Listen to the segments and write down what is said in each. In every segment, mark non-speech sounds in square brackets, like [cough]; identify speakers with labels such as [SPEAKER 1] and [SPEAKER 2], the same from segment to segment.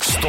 [SPEAKER 1] Stå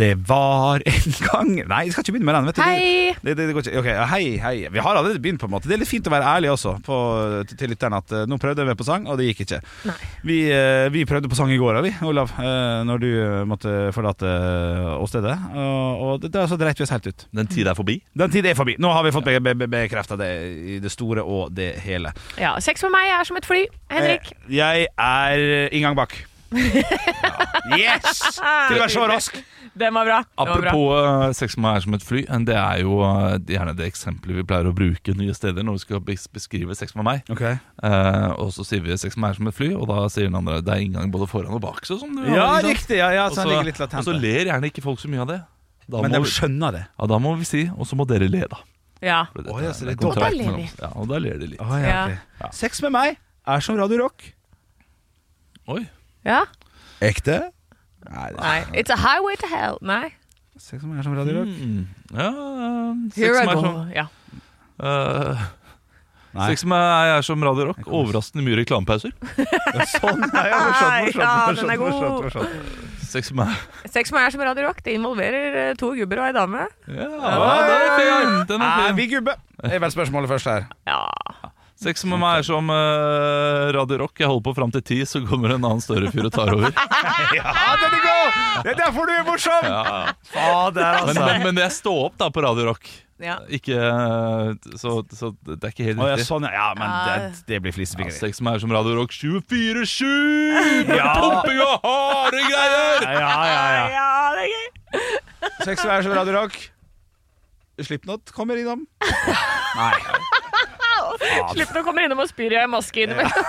[SPEAKER 2] Det var en gang Nei, jeg skal ikke begynne med den. vet du
[SPEAKER 3] Hei!
[SPEAKER 2] Det, det, det går ikke. Ok, ja, hei, hei. Vi har allerede begynt, på en måte. Det er litt fint å være ærlig også på, til- til lytterne. At eh, nå prøvde vi på sang, og det gikk ikke. Vi, eh, vi prøvde på sang i går, ja, vi, Olav. eh, Når du eh, måtte forlate eh, åstedet. Og, og det, det, så dreit vi oss helt ut.
[SPEAKER 4] Den tida er forbi.
[SPEAKER 2] Den tid er forbi. Nå har vi fått be- be- be- bekrefta det i det store og det hele.
[SPEAKER 3] Ja, sex med meg er som et fly. Henrik.
[SPEAKER 2] Eh, Jeg er inngang
[SPEAKER 3] [laughs]
[SPEAKER 2] bak. ja. Yes! Til å være så rask.
[SPEAKER 3] Den var bra. Den var bra.
[SPEAKER 4] Apropos eh, sex med meg er som et fly. eh, Det er jo eh, gjerne det eksempelet vi pleier å bruke nye steder når vi skal bes- beskrive sex med meg. Eh, og så sier vi sex med meg er som et fly, og da sier den andre det er inngang både foran og bak. Sånn, som du
[SPEAKER 2] Ja,
[SPEAKER 4] har, ikke sant?
[SPEAKER 2] riktig. Ja, ja,
[SPEAKER 4] Og
[SPEAKER 2] så han ligger litt
[SPEAKER 4] så, og
[SPEAKER 2] latent.
[SPEAKER 4] så
[SPEAKER 2] der.
[SPEAKER 4] ler gjerne ikke folk så mye av det. Da
[SPEAKER 2] Men
[SPEAKER 4] må,
[SPEAKER 2] de
[SPEAKER 4] vi-
[SPEAKER 2] skjønner det.
[SPEAKER 4] ja, da må vi si, og så må dere le, da.
[SPEAKER 3] Ja.
[SPEAKER 4] For dette
[SPEAKER 2] Å, ja,
[SPEAKER 4] er
[SPEAKER 2] så det er
[SPEAKER 4] en kontrakt
[SPEAKER 3] dobbelt. Og da ler
[SPEAKER 4] mellom- Ja, og da ler de litt.
[SPEAKER 2] Å, ja, ok. Sex med meg er som Radio Rock.
[SPEAKER 4] Oi,
[SPEAKER 3] ja.
[SPEAKER 2] Ekte? Nei, det er-
[SPEAKER 3] Nei. It's a highway to hell. Nei.
[SPEAKER 2] Sex med meg er som Radio Rock.
[SPEAKER 4] Mm. Ja, eh, sex
[SPEAKER 3] Here I
[SPEAKER 4] med meg er
[SPEAKER 3] go.
[SPEAKER 4] som,
[SPEAKER 3] Ja.
[SPEAKER 4] eh,
[SPEAKER 2] Nei.
[SPEAKER 4] sex med meg er som Radio Rock. Overraskende mye reklamepauser.
[SPEAKER 2] Sånn, nei, ja, morsomt, morsomt,
[SPEAKER 3] Ja, den er
[SPEAKER 2] morsomt, morsomt,
[SPEAKER 3] god.
[SPEAKER 2] morsomt.
[SPEAKER 4] Sex med meg
[SPEAKER 3] Sex med meg er som Radio Rock. Det involverer eh, to gubber og ei dame.
[SPEAKER 4] Ja, den er fin! Den
[SPEAKER 2] Er
[SPEAKER 4] er
[SPEAKER 2] Eh, vi
[SPEAKER 4] fin.
[SPEAKER 2] gubbe? Det er vel spørsmålet først
[SPEAKER 3] [laughs]
[SPEAKER 2] her.
[SPEAKER 3] Ja.
[SPEAKER 4] Sex med meg er som eh, Radio Rock. Jeg holder på fram til ti, så kommer en annen større fyr og tar over.
[SPEAKER 2] Ja, den er god! Det er derfor du er morsom!
[SPEAKER 4] Ja.
[SPEAKER 2] Fader,
[SPEAKER 4] Men,
[SPEAKER 2] altså.
[SPEAKER 4] men, men jeg står opp da på Radio Rock.
[SPEAKER 3] ja.
[SPEAKER 4] Ikke, eh, så, så det er ikke helt
[SPEAKER 2] Å, ja,
[SPEAKER 4] riktig.
[SPEAKER 2] sånn, ja. ja, men
[SPEAKER 3] Ja.
[SPEAKER 2] det, det blir
[SPEAKER 4] Ja,
[SPEAKER 2] flisespikkeri.
[SPEAKER 4] sex med meg er som Radio Rock 24-7! Med
[SPEAKER 2] Ja.
[SPEAKER 4] pumping og harde greier!
[SPEAKER 2] Ja, ja, ja.
[SPEAKER 3] ja, det er gøy.
[SPEAKER 2] Sex med meg er som Radio Rock. Slipknot kommer innom. [laughs] Nei. Faen.
[SPEAKER 3] Slipp nå kommer innom og spyr i ei maske innimellom.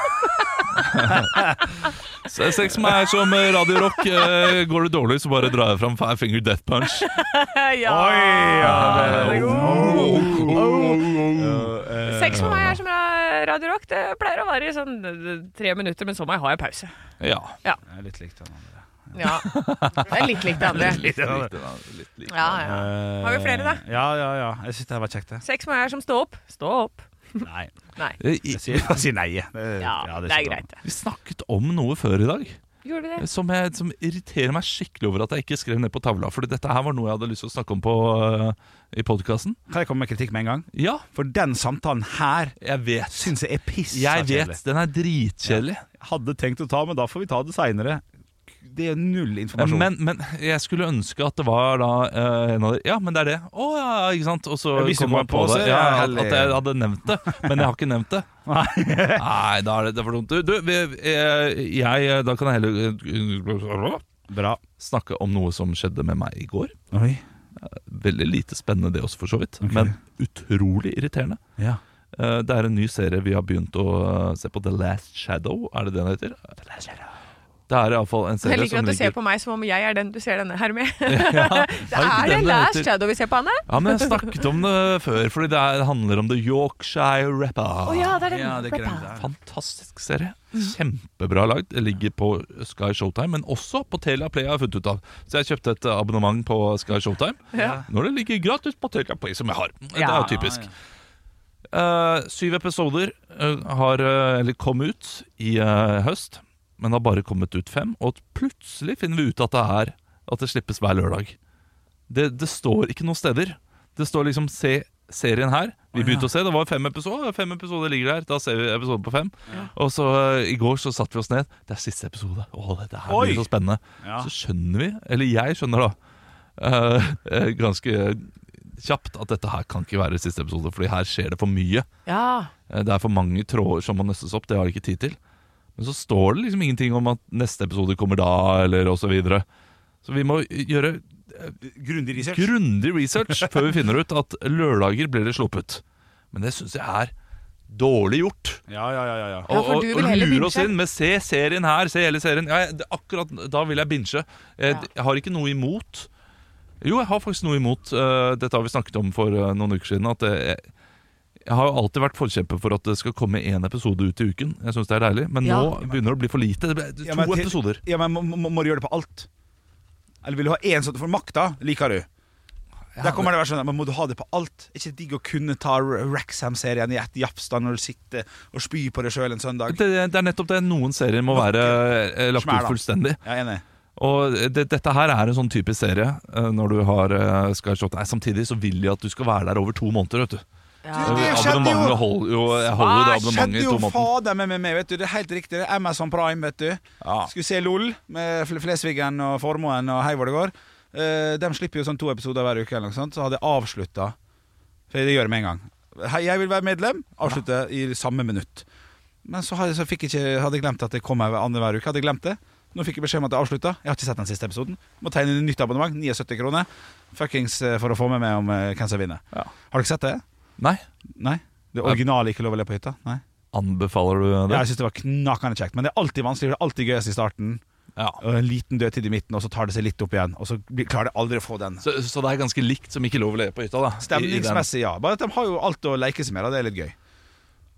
[SPEAKER 4] Se- Sex med meg er som eh, Radio Rock. eh, Går det dårlig, så bare drar jeg fram Five Finger Death Punch.
[SPEAKER 3] [laughs] Ja.
[SPEAKER 2] Oi, ja.
[SPEAKER 3] Den
[SPEAKER 2] Oh,
[SPEAKER 3] er god.
[SPEAKER 2] Eh,
[SPEAKER 3] Sex med meg er som eh, Radio Rock. Det pleier å vare i sånn eh, tre minutter, men så må jeg ha en pause.
[SPEAKER 4] Ja.
[SPEAKER 2] jeg er Litt likt han andre.
[SPEAKER 3] Ja. Det er litt likt det andre.
[SPEAKER 4] Litt, litt, litt.
[SPEAKER 3] Ja, ja. Har vi flere, da?
[SPEAKER 2] Ja, ja, ja. Jeg syns det her var kjekt, det.
[SPEAKER 3] Sex med meg er som stå opp. Stå opp.
[SPEAKER 2] Nei.
[SPEAKER 3] Nei.
[SPEAKER 4] Eh, I-
[SPEAKER 2] [laughs] Jeg sier, jeg sier nei. jeg. Det,
[SPEAKER 3] Ja, det er
[SPEAKER 2] ikke bra.
[SPEAKER 3] greit. det.
[SPEAKER 4] Vi snakket om noe før i dag.
[SPEAKER 3] Gjorde vi det?
[SPEAKER 4] som, jeg, som irriterer meg skikkelig over at jeg ikke skrev ned på tavla. For dette her var noe jeg hadde lyst til å snakke om på, øh, i podkasten.
[SPEAKER 2] Kan jeg komme med kritikk med en gang?
[SPEAKER 4] Ja,
[SPEAKER 2] For den samtalen her
[SPEAKER 4] jeg vet.
[SPEAKER 2] syns jeg er piss.
[SPEAKER 4] Jeg vet, Den er dritkjedelig.
[SPEAKER 2] Hadde tenkt å ta, men da får vi ta det seinere. Det er null informasjon.
[SPEAKER 4] Men, men jeg skulle ønske at det var da øh, en av dere Ja, men det er det. Å ja, ja, ikke sant? Og så
[SPEAKER 2] Ja, hvis du
[SPEAKER 4] kom
[SPEAKER 2] kommer
[SPEAKER 4] jeg på
[SPEAKER 2] på, så
[SPEAKER 4] det.
[SPEAKER 2] er
[SPEAKER 4] Ja,
[SPEAKER 2] jeg
[SPEAKER 4] at, at jeg hadde nevnt det. Men jeg har ikke nevnt det. [laughs] Nei, da er det, det er for dumt. Du, du vi- eh, jeg Da kan jeg heller øh,
[SPEAKER 2] Bra.
[SPEAKER 4] snakke om noe som skjedde med meg i går.
[SPEAKER 2] Oi.
[SPEAKER 4] Veldig lite spennende det også, for så vidt.
[SPEAKER 2] Ok.
[SPEAKER 4] Men utrolig irriterende.
[SPEAKER 2] Ja.
[SPEAKER 4] Eh, Det er en ny serie vi har begynt å eh, se på. The Last Shadow, er det det den heter? The Last Shadow Det er iallfall en serie
[SPEAKER 3] Jeg liker
[SPEAKER 4] som
[SPEAKER 3] at du ser
[SPEAKER 4] ligger
[SPEAKER 3] på meg som om jeg er den du ser denne her med.
[SPEAKER 4] [laughs] ja,
[SPEAKER 3] [laughs] Det er det
[SPEAKER 4] den
[SPEAKER 3] Last
[SPEAKER 4] heter?
[SPEAKER 3] Shadow vi ser på, Anne?
[SPEAKER 4] Ja, men jeg snakket om det før, fordi det er- handler om The Yorkshire Rapper.
[SPEAKER 3] Å ja, Mm. det er den.
[SPEAKER 2] Ja, det er greit, det er.
[SPEAKER 4] Fantastisk serie. Kjempebra lagd. Det ligger på Sky Showtime, men også på Telia Play har jeg funnet ut av. Så jeg kjøpte et abonnement på Sky Showtime.
[SPEAKER 3] Ja.
[SPEAKER 4] Når det ligger gratis på Telia Play, som jeg har. Det er
[SPEAKER 3] Ja.
[SPEAKER 4] jo typisk. Eh, syv episoder eh, har eh, eller kom ut i eh, høst, men har bare kommet ut fem. Og plutselig finner vi ut at det er At det slippes hver lørdag. Det, det står ikke noen steder. Det står liksom 'se serien her'. Vi begynte å se, det var fem episoder. Fem episoder ligger der, Da ser vi episode på fem. Og så eh, i går så satte vi oss ned. Det er siste episode. Å, dette her
[SPEAKER 2] Oi!
[SPEAKER 4] blir så spennende.
[SPEAKER 2] Ja.
[SPEAKER 4] Så skjønner vi, eller jeg skjønner da, eh, eh, ganske kjapt at dette her kan ikke være siste episode, fordi her skjer det for mye.
[SPEAKER 3] Ja.
[SPEAKER 4] Eh, Det er for mange tråder som må nøstes opp, det har de ikke tid til. Men så står det liksom ingenting om at neste episode kommer da, eller og så videre. Så vi må gjøre
[SPEAKER 2] Grundig research.
[SPEAKER 4] grundig research før vi finner ut at lørdager blir det sluppet. Men det syns jeg er dårlig gjort.
[SPEAKER 2] Ja, ja, ja, ja, ja.
[SPEAKER 3] Ja,
[SPEAKER 4] Og,
[SPEAKER 3] for
[SPEAKER 4] og,
[SPEAKER 3] du vil
[SPEAKER 4] og
[SPEAKER 3] heller
[SPEAKER 4] lure oss
[SPEAKER 3] binge.
[SPEAKER 4] inn med 'se serien her', 'se hele serien'. Ja, jeg- det, akkurat da vil jeg binche. Jeg,
[SPEAKER 3] Ja.
[SPEAKER 4] jeg har ikke noe imot Jo, jeg har faktisk noe imot eh, Dette har vi snakket om for eh, noen uker siden. At eh, jeg, jeg har jo alltid vært forkjemper for at det skal komme én episode ut i uken. Jeg synes det er deilig Men
[SPEAKER 3] Ja.
[SPEAKER 4] nå begynner det å bli for lite. Det ble to
[SPEAKER 2] Ja, men til-
[SPEAKER 4] episoder.
[SPEAKER 2] Ja, men må, må, må du gjøre det på alt? Eller vil du ha én sånn For makta liker du. Der kommer det å være sånn der, Men må du ha det på alt? Er ikke det digg å kunne ta Raxham-serien i ett japs da når du sitter og spyr på deg sjøl en søndag?
[SPEAKER 4] Det, det er nettopp det. Noen serier må være eh, lagt
[SPEAKER 2] Smæla.
[SPEAKER 4] ut fullstendig.
[SPEAKER 2] Jeg er enig.
[SPEAKER 4] Og eh, det, dette her er en sånn typisk serie eh, når du har eh, skal slå Nei, Samtidig så vil de at du skal være der over to måneder, vet du.
[SPEAKER 2] Du, det skjedde jo.
[SPEAKER 4] Abonnementet holder jo Jeg holder jo det
[SPEAKER 2] Ah,
[SPEAKER 4] abonnementet i to
[SPEAKER 2] jo
[SPEAKER 4] måneder.
[SPEAKER 2] fader meg med meg, vet du. Det er helt riktig. Det er Amazon Prime, vet du.
[SPEAKER 4] Ja.
[SPEAKER 2] Skulle se LOL med Fl- Flesviggen og Formoen og hei hvor det går. Eh, de slipper jo sånn to episoder hver uke, eller noe sånt. Så hadde jeg avslutta. For det gjør jeg med en gang. Hei, jeg vil være medlem. Avslutte i samme minutt. Men så hadde, så fikk jeg ikke, hadde jeg glemt at det kom hver andre hver uke. Hadde jeg glemt det Nå fikk jeg beskjed om at det avslutta. Jeg har ikke sett den siste episoden. Må tegne inn et nytt abonnement. 79 kroner. Fuckings eh, for å få med meg om eh, hvem som vinner.
[SPEAKER 4] Ja.
[SPEAKER 2] Har dere sett det?
[SPEAKER 4] Nei,
[SPEAKER 2] Nei? Det originale ikke lov å le på hytta? Nei?
[SPEAKER 4] anbefaler du
[SPEAKER 2] Ja,
[SPEAKER 4] det?
[SPEAKER 2] jeg synes det var knakende kjekt, men det er alltid vanskelig. Det er alltid gøyest i starten.
[SPEAKER 4] Ja.
[SPEAKER 2] Og en liten dødtid i midten, og så tar det seg litt opp igjen. Og så blir- klarer de aldri å få den.
[SPEAKER 4] Så, så det er ganske likt som ikke lov å le på hytta, da. i- i den.
[SPEAKER 2] Stemningsmessig, ja. Bare at de har jo alt å leke seg med, da. det er litt gøy.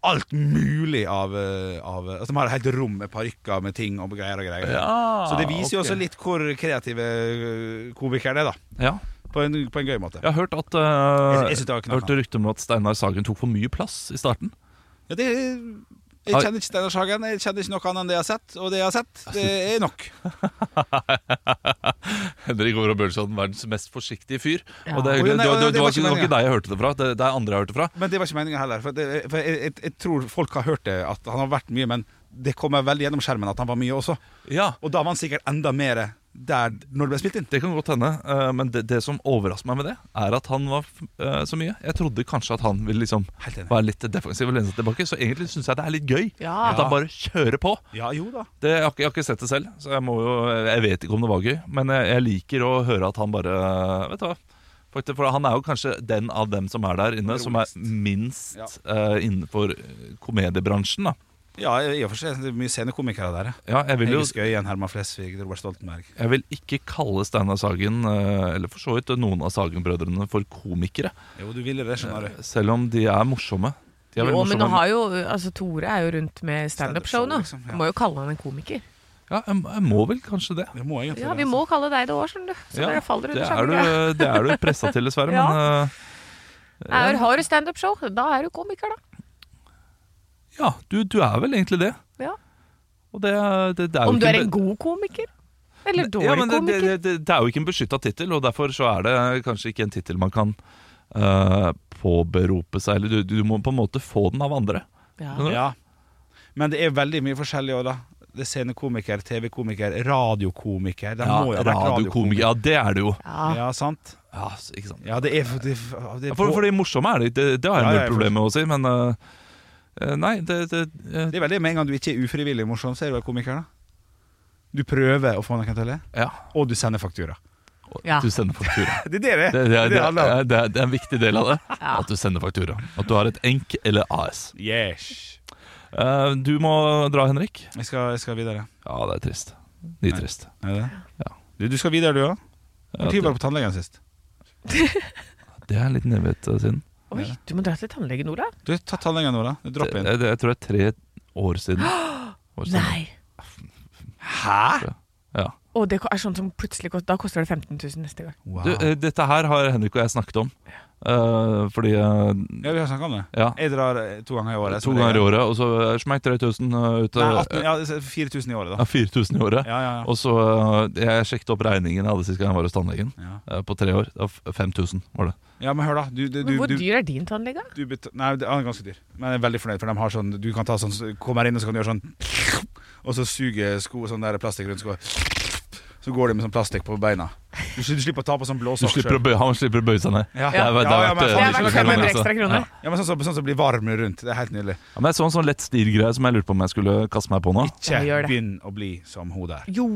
[SPEAKER 2] Alt mulig av, eh, av altså, De har et helt rom med parykker med ting og greier og greier.
[SPEAKER 4] Ja,
[SPEAKER 2] så det viser jo
[SPEAKER 4] ok.
[SPEAKER 2] også litt hvor kreative eh, komikere er, da.
[SPEAKER 4] Ja.
[SPEAKER 2] På en, på en gøy måte.
[SPEAKER 4] Jeg har hørt at
[SPEAKER 2] Jeg-
[SPEAKER 4] uh,
[SPEAKER 2] jeg synes det var knakende.
[SPEAKER 4] Hørte rykter om at Steinar Sagen tok for mye plass i starten.
[SPEAKER 2] Ja, det, jeg kjenner ikke Steinar Sagen. Jeg kjenner ikke noe annet enn det jeg har sett. Og det jeg har sett, det er nok.
[SPEAKER 4] Henrik Over og Bjørnson, verdens mest forsiktige fyr.
[SPEAKER 3] Ja.
[SPEAKER 4] Og det, er
[SPEAKER 2] Å, ja,
[SPEAKER 4] hyggelig.
[SPEAKER 2] nei,
[SPEAKER 4] det, var-
[SPEAKER 2] ja,
[SPEAKER 4] det, var ikke-
[SPEAKER 2] det var ikke
[SPEAKER 4] det var ikke
[SPEAKER 2] meningen.
[SPEAKER 4] deg jeg hørte det fra, det, det er andre jeg har hørt det fra.
[SPEAKER 2] Men det var ikke meninga heller. For, det, for jeg, jeg, jeg tror folk har hørt det, at han har vært mye, men det kommer veldig gjennom skjermen at han var mye også.
[SPEAKER 4] Ja,
[SPEAKER 2] Og da var han sikkert enda mer der når det ble spilt inn.
[SPEAKER 4] Det kan godt hende, eh, men det, det som overrasker meg med det, er at han var eh, så mye. Jeg trodde kanskje at han ville liksom
[SPEAKER 2] Helt enig.
[SPEAKER 4] være litt defensiv og lene seg tilbake, så egentlig syns jeg det er litt gøy.
[SPEAKER 3] Ja.
[SPEAKER 4] At han bare kjører på.
[SPEAKER 2] Ja, jo da.
[SPEAKER 4] Det, jeg, har ikke, jeg har ikke sett det selv, så jeg, må jo, jeg vet ikke om det var gøy. Men jeg, jeg liker å høre at han bare Vet du hva. Faktisk, For han er jo kanskje den av dem som er der inne, som er minst
[SPEAKER 2] Ja.
[SPEAKER 4] eh, innenfor komediebransjen. da
[SPEAKER 2] Ja, i og for seg. Det er mye scenekomikere der. ja.
[SPEAKER 4] ja, jeg vil jo
[SPEAKER 2] Hege Skøyen, Herman Flesvig, Robert Stoltenberg.
[SPEAKER 4] Jeg vil ikke kalle Steinar Sagen, eh, eller for så vidt noen av Sagen-brødrene, for komikere.
[SPEAKER 2] Jo, du ville det, skjønner du.
[SPEAKER 4] Selv om de er morsomme. De er
[SPEAKER 3] Jo,
[SPEAKER 4] veldig
[SPEAKER 3] men nå
[SPEAKER 4] morsomme.
[SPEAKER 3] har jo, altså Tore er jo rundt med standup-show nå.
[SPEAKER 2] Stand-up-show, liksom, ja.
[SPEAKER 3] Vi må jo kalle han en komiker.
[SPEAKER 4] Ja, jeg, jeg må vel kanskje det.
[SPEAKER 2] Det må egentlig det,
[SPEAKER 3] Ja,
[SPEAKER 2] altså.
[SPEAKER 3] Vi må kalle deg det òg, skjønner du. Så
[SPEAKER 4] Ja,
[SPEAKER 3] dere faller
[SPEAKER 4] det
[SPEAKER 3] under
[SPEAKER 4] er
[SPEAKER 3] samme greie.
[SPEAKER 4] du, det er du pressa til,
[SPEAKER 3] [laughs]
[SPEAKER 4] dessverre.
[SPEAKER 3] Ja.
[SPEAKER 4] Men eh,
[SPEAKER 3] Er- Har du standup-show, da er du komiker, da.
[SPEAKER 4] ja, du, du er vel egentlig det.
[SPEAKER 3] Ja.
[SPEAKER 4] Og det, det, det er jo
[SPEAKER 3] Om du
[SPEAKER 4] ikke
[SPEAKER 3] er
[SPEAKER 4] be-
[SPEAKER 3] en god komiker? Eller dårlig
[SPEAKER 4] ja, men det, det,
[SPEAKER 3] komiker?
[SPEAKER 4] det, det er jo ikke en beskytta tittel, og derfor så er det kanskje ikke en tittel man kan eh, påberope seg. Eller du, du må på en måte få den av andre.
[SPEAKER 3] Ja.
[SPEAKER 2] Ja. Men det er veldig mye forskjellig òg, da. Det er scenekomiker, TV-komiker, radiokomiker. De må jo ha vært
[SPEAKER 4] radiokomiker.
[SPEAKER 2] radiokomiker.
[SPEAKER 4] Ja, det er det jo.
[SPEAKER 3] Ja.
[SPEAKER 2] Ja, sant?
[SPEAKER 4] Ja, ikke sant.
[SPEAKER 2] Ja, det er, det, er- det
[SPEAKER 4] Ja,
[SPEAKER 2] er
[SPEAKER 4] For,
[SPEAKER 2] på-
[SPEAKER 4] for det morsomme er det ikke, det, det har jeg
[SPEAKER 2] Ja,
[SPEAKER 4] null
[SPEAKER 2] ja, jeg
[SPEAKER 4] problem med å si, men øh, øh, Nei, det, det, øh,
[SPEAKER 2] Det er veldig med en gang du ikke er ufrivillig morsom, så er du en komiker, da. Du prøver å få noen til å le,
[SPEAKER 4] ja.
[SPEAKER 2] og du sender faktura.
[SPEAKER 3] Ja.
[SPEAKER 4] Du sender faktura.
[SPEAKER 2] Det er det det,
[SPEAKER 4] Det, det, er-
[SPEAKER 2] er det det handler om.
[SPEAKER 4] det, er- det er en viktig del av det.
[SPEAKER 3] Ja.
[SPEAKER 4] At du sender faktura. At du har et enk eller AS.
[SPEAKER 2] Yes.
[SPEAKER 4] Eh, du må dra, Henrik.
[SPEAKER 2] Jeg skal, jeg skal videre.
[SPEAKER 4] Ja, det er trist. Nitrist.
[SPEAKER 2] Er det det?
[SPEAKER 4] Ja.
[SPEAKER 2] Du, du skal videre, du òg?
[SPEAKER 4] Ja,
[SPEAKER 2] Når var du på tannlegen sist?
[SPEAKER 4] Det er litt nevete siden.
[SPEAKER 3] Oi, du må dra til tannlegen, Ola.
[SPEAKER 2] Du har tatt tannlegen nå, da. Du
[SPEAKER 4] Det,
[SPEAKER 2] dropper inn.
[SPEAKER 4] det, det, jeg tror det er tre år siden. År siden.
[SPEAKER 3] [gasps] Nei.
[SPEAKER 2] Hæ?!
[SPEAKER 4] Ja.
[SPEAKER 3] Og det er sånn som plutselig kost- Da koster det 15 000 neste gang.
[SPEAKER 2] Wow.
[SPEAKER 4] Du, eh, dette her har Henrik og jeg snakket om. Eh, fordi eh,
[SPEAKER 2] ja, vi har snakka om det.
[SPEAKER 4] Ja.
[SPEAKER 2] Jeg drar eh, to ganger i året.
[SPEAKER 4] To ganger i året, og så eh, smekk 3000 eh, ut
[SPEAKER 2] Nei,
[SPEAKER 4] av
[SPEAKER 2] 18, ja, det er 4000 i året,
[SPEAKER 4] Ja,
[SPEAKER 2] da.
[SPEAKER 4] 4000 i året.
[SPEAKER 2] Ja, ja, ja.
[SPEAKER 4] Og så øh, Jeg sjekket opp regningen jeg hadde sist gang jeg var hos tannlegen.
[SPEAKER 2] Ja,
[SPEAKER 4] øh, På tre år. Det var f- 5000, var det.
[SPEAKER 2] ja men hør, da. Du, du, du,
[SPEAKER 3] Men hvor
[SPEAKER 2] du,
[SPEAKER 3] dyr er din tannlege?
[SPEAKER 2] du bet Nei, det er ganske dyr. Men jeg er veldig fornøyd, for de har sånn Du kan ta sånn Kommer inn, og så kan du gjøre sånn Og så suger sko Sånn der plastikk rundt skoa. Så går de med sånn plastikk på beina. Du, sl- du slipper å ta på sånn blå
[SPEAKER 4] Du
[SPEAKER 2] sokk
[SPEAKER 4] slipper å
[SPEAKER 2] selv.
[SPEAKER 4] bøye, han slipper å bøye seg ned.
[SPEAKER 2] Ja,
[SPEAKER 4] Det er- det er
[SPEAKER 2] ja, ja,
[SPEAKER 4] verdt,
[SPEAKER 2] men
[SPEAKER 4] øh,
[SPEAKER 3] Det
[SPEAKER 2] faen, du
[SPEAKER 3] er verdt
[SPEAKER 2] skjønner hva jeg
[SPEAKER 3] 500
[SPEAKER 2] mener.
[SPEAKER 3] ekstra kroner.
[SPEAKER 2] Ja, men sånn som sånn, som blir varm rundt. Det er helt nydelig.
[SPEAKER 4] Ja, men det er sånn sånn lett stilgreie som jeg lurte på om jeg skulle kaste meg på nå.
[SPEAKER 2] Ikke
[SPEAKER 3] Ja, gjør det.
[SPEAKER 2] begynn å bli som hun der.
[SPEAKER 3] Jo.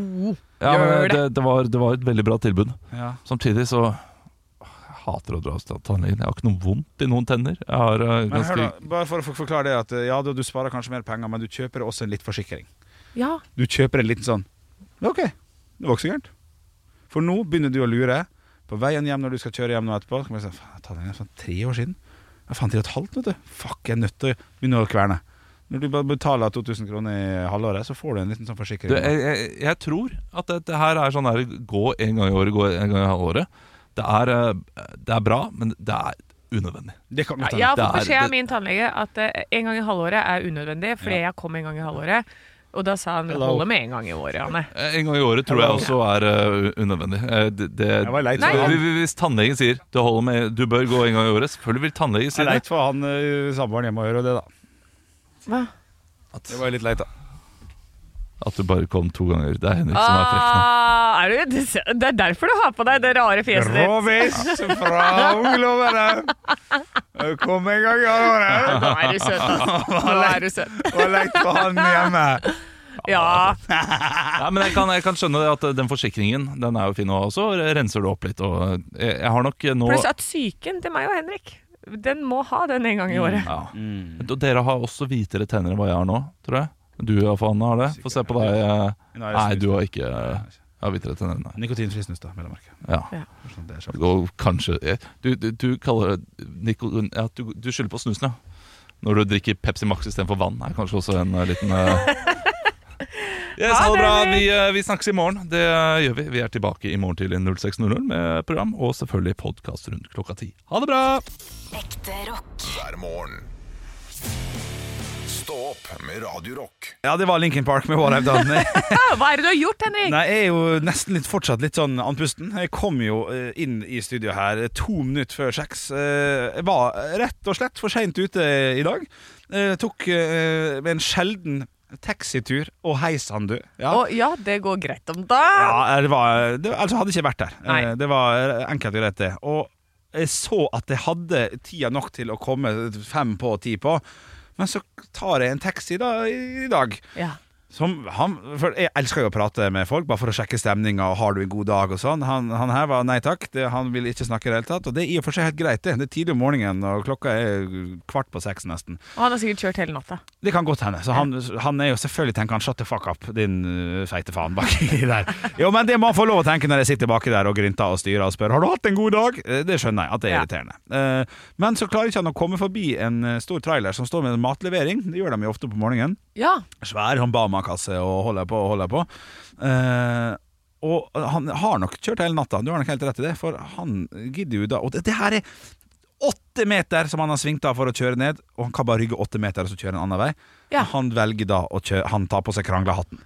[SPEAKER 4] Ja,
[SPEAKER 3] Gjør
[SPEAKER 4] men
[SPEAKER 3] det.
[SPEAKER 4] det, det, var, det var et veldig bra tilbud.
[SPEAKER 2] Ja.
[SPEAKER 4] Samtidig så Jeg hater å dra hos tannlegen. Jeg har ikke noe vondt i noen tenner. Jeg har øh,
[SPEAKER 2] Men hør,
[SPEAKER 4] ganske
[SPEAKER 2] da. Bare for å for- forklare det at eh, ja, du, du sparer kanskje mer penger, men du kjøper også en litt forsikring.
[SPEAKER 3] Ja.
[SPEAKER 2] Du kjøper en liten sånn OK, det var ikke så gærent. For nå begynner du å lure. På veien hjem når du skal kjøre hjem nå etterpå så kan du si, Faen, tannlegen er sånn tre år siden. Ja, faen, tre og et halvt, vet du. Fuck, jeg er nødt til å begynne å kverne. Når du bare betaler 2000 kroner i halvåret, så får du en liten sånn forsikring.
[SPEAKER 4] du, jeg, jeg, jeg tror at dette her er sånn her gå en gang i året, gå en gang i halvåret. Det er, eh, det er bra, men det er unødvendig.
[SPEAKER 2] Det kan
[SPEAKER 3] Ja,
[SPEAKER 2] godt
[SPEAKER 3] jeg har
[SPEAKER 2] hende.
[SPEAKER 4] Det
[SPEAKER 3] fått
[SPEAKER 4] er-
[SPEAKER 3] beskjed av
[SPEAKER 4] det-
[SPEAKER 3] min tannlege at eh, en gang i halvåret er unødvendig, fordi jeg kom en gang i halvåret. Og da sa han
[SPEAKER 2] Hello.
[SPEAKER 3] holde med en gang i året, Anne.
[SPEAKER 4] Eh, En gang i året tror jeg også er eh, unødvendig. Eh, det, det,
[SPEAKER 2] Jeg var leit for
[SPEAKER 4] Nei,
[SPEAKER 2] han.
[SPEAKER 4] hvis- Hvis tannlegen sier du, holder med, du bør gå en gang i året, selvfølgelig vil tannlegen si
[SPEAKER 2] Det er
[SPEAKER 4] det.
[SPEAKER 2] leit for han eh, samboeren hjemme å gjøre det, da.
[SPEAKER 3] Hva?
[SPEAKER 4] At,
[SPEAKER 2] Det var litt leit, da.
[SPEAKER 4] at du bare kom to ganger. Det er Henrik som er frekk nå.
[SPEAKER 3] Ah, er du, det er derfor du har på deg det rare fjeset ditt.
[SPEAKER 2] Råvis fra unglommene. Kom en gang i året.
[SPEAKER 3] Nå er du søt, altså. Nå er du søt.
[SPEAKER 2] Og leit for han hjemme.
[SPEAKER 3] Ja.
[SPEAKER 4] Nei, men jeg kan, jeg kan skjønne det at eh, den forsikringen den er jo fin, og så renser du opp litt. Og eh, jeg, jeg har nok eh, nå
[SPEAKER 3] Pluss at psyken til meg og Henrik, den må ha den en gang i året.
[SPEAKER 4] ja.
[SPEAKER 2] Mm.
[SPEAKER 4] Og Dere har også hvitere tenner enn hva jeg har nå, tror jeg. Du iallfall, Anne, har det. Få se på deg. eh,
[SPEAKER 2] Nei,
[SPEAKER 4] Nei, du har ikke eh, ja, hvitere tenner enn meg.
[SPEAKER 2] Nikotinfri snus, da, mellom merke.
[SPEAKER 4] Ja.
[SPEAKER 2] Sånn, det er kjapt.
[SPEAKER 4] Det går kanskje eh, Du, du, du kaller det Nico, ja, du, du skylder på snusen, ja. Når du drikker Pepsi Max istedenfor vann, er kanskje også en eh, liten eh, Yes,
[SPEAKER 3] Ha
[SPEAKER 4] ha det bra.
[SPEAKER 3] det, Henrik.
[SPEAKER 4] Vi, eh, vi snakkes i morgen. Det eh, gjør vi. Vi er tilbake i morgen til 06.00 med program og selvfølgelig podkast rundt klokka ti. Ha det bra!
[SPEAKER 5] Ekte rock.
[SPEAKER 1] hver morgen. Stå opp med Radio Rock.
[SPEAKER 2] Ja, det var Linkin Park med What I've [laughs] Done.
[SPEAKER 3] Ah, Hva er det du har gjort, Henrik?
[SPEAKER 2] Nei, jeg er jo nesten litt fortsatt litt sånn andpusten. Jeg kom jo eh, inn i studio her eh, to minutter før seks. Eh, Jeg var rett og slett for seint ute i dag. Eh, Tok eh, en sjelden taxitur og heisan, du. Ja.
[SPEAKER 3] Å ja, det går greit om dagen.
[SPEAKER 2] Ja, eh, det var, det, altså hadde ikke jeg vært der.
[SPEAKER 3] Nei.
[SPEAKER 2] Eh, Det var enkelt og greit, det. Og jeg så at jeg hadde tida nok til å komme fem på ti på. Men så tar jeg en taxi da, i i dag.
[SPEAKER 3] Ja.
[SPEAKER 2] Som han, for jeg elsker jo å prate med folk, bare for å sjekke stemninga. Har du en god dag? og sånn Han, han her var nei takk, det, han ville ikke snakke i det hele tatt. Og det er i og for seg helt greit, det. Det er tidlig om morgenen, og klokka er kvart på seks nesten.
[SPEAKER 3] Og han har sikkert kjørt hele natta.
[SPEAKER 2] Det kan godt hende. Så han, han er jo selvfølgelig tenker han shut the fuck up, din øh, feite faen [laughs] baki der. Jo, men det må han få lov å tenke når jeg sitter baki der og grynter og styrer og spør Har du hatt en god dag. Eh, Det skjønner jeg at det er
[SPEAKER 3] Ja.
[SPEAKER 2] irriterende. Eh, Men så klarer ikke han å komme forbi en eh, stor trailer som står med en matlevering. Det gjør de jo ofte på morgenen.
[SPEAKER 3] Ja.
[SPEAKER 2] Svær sånn Bama-kasse og holder på og holder på. Eh, og han har nok kjørt hele natta, du har nok helt rett i det, for han gidder jo da Og det, det her er åtte meter som han har svingt av for å kjøre ned, og han kan bare rygge åtte meter og så kjøre en annen vei.
[SPEAKER 3] Ja.
[SPEAKER 2] Han velger da å kjøre Han tar på seg
[SPEAKER 3] [laughs]
[SPEAKER 2] kranglehatten.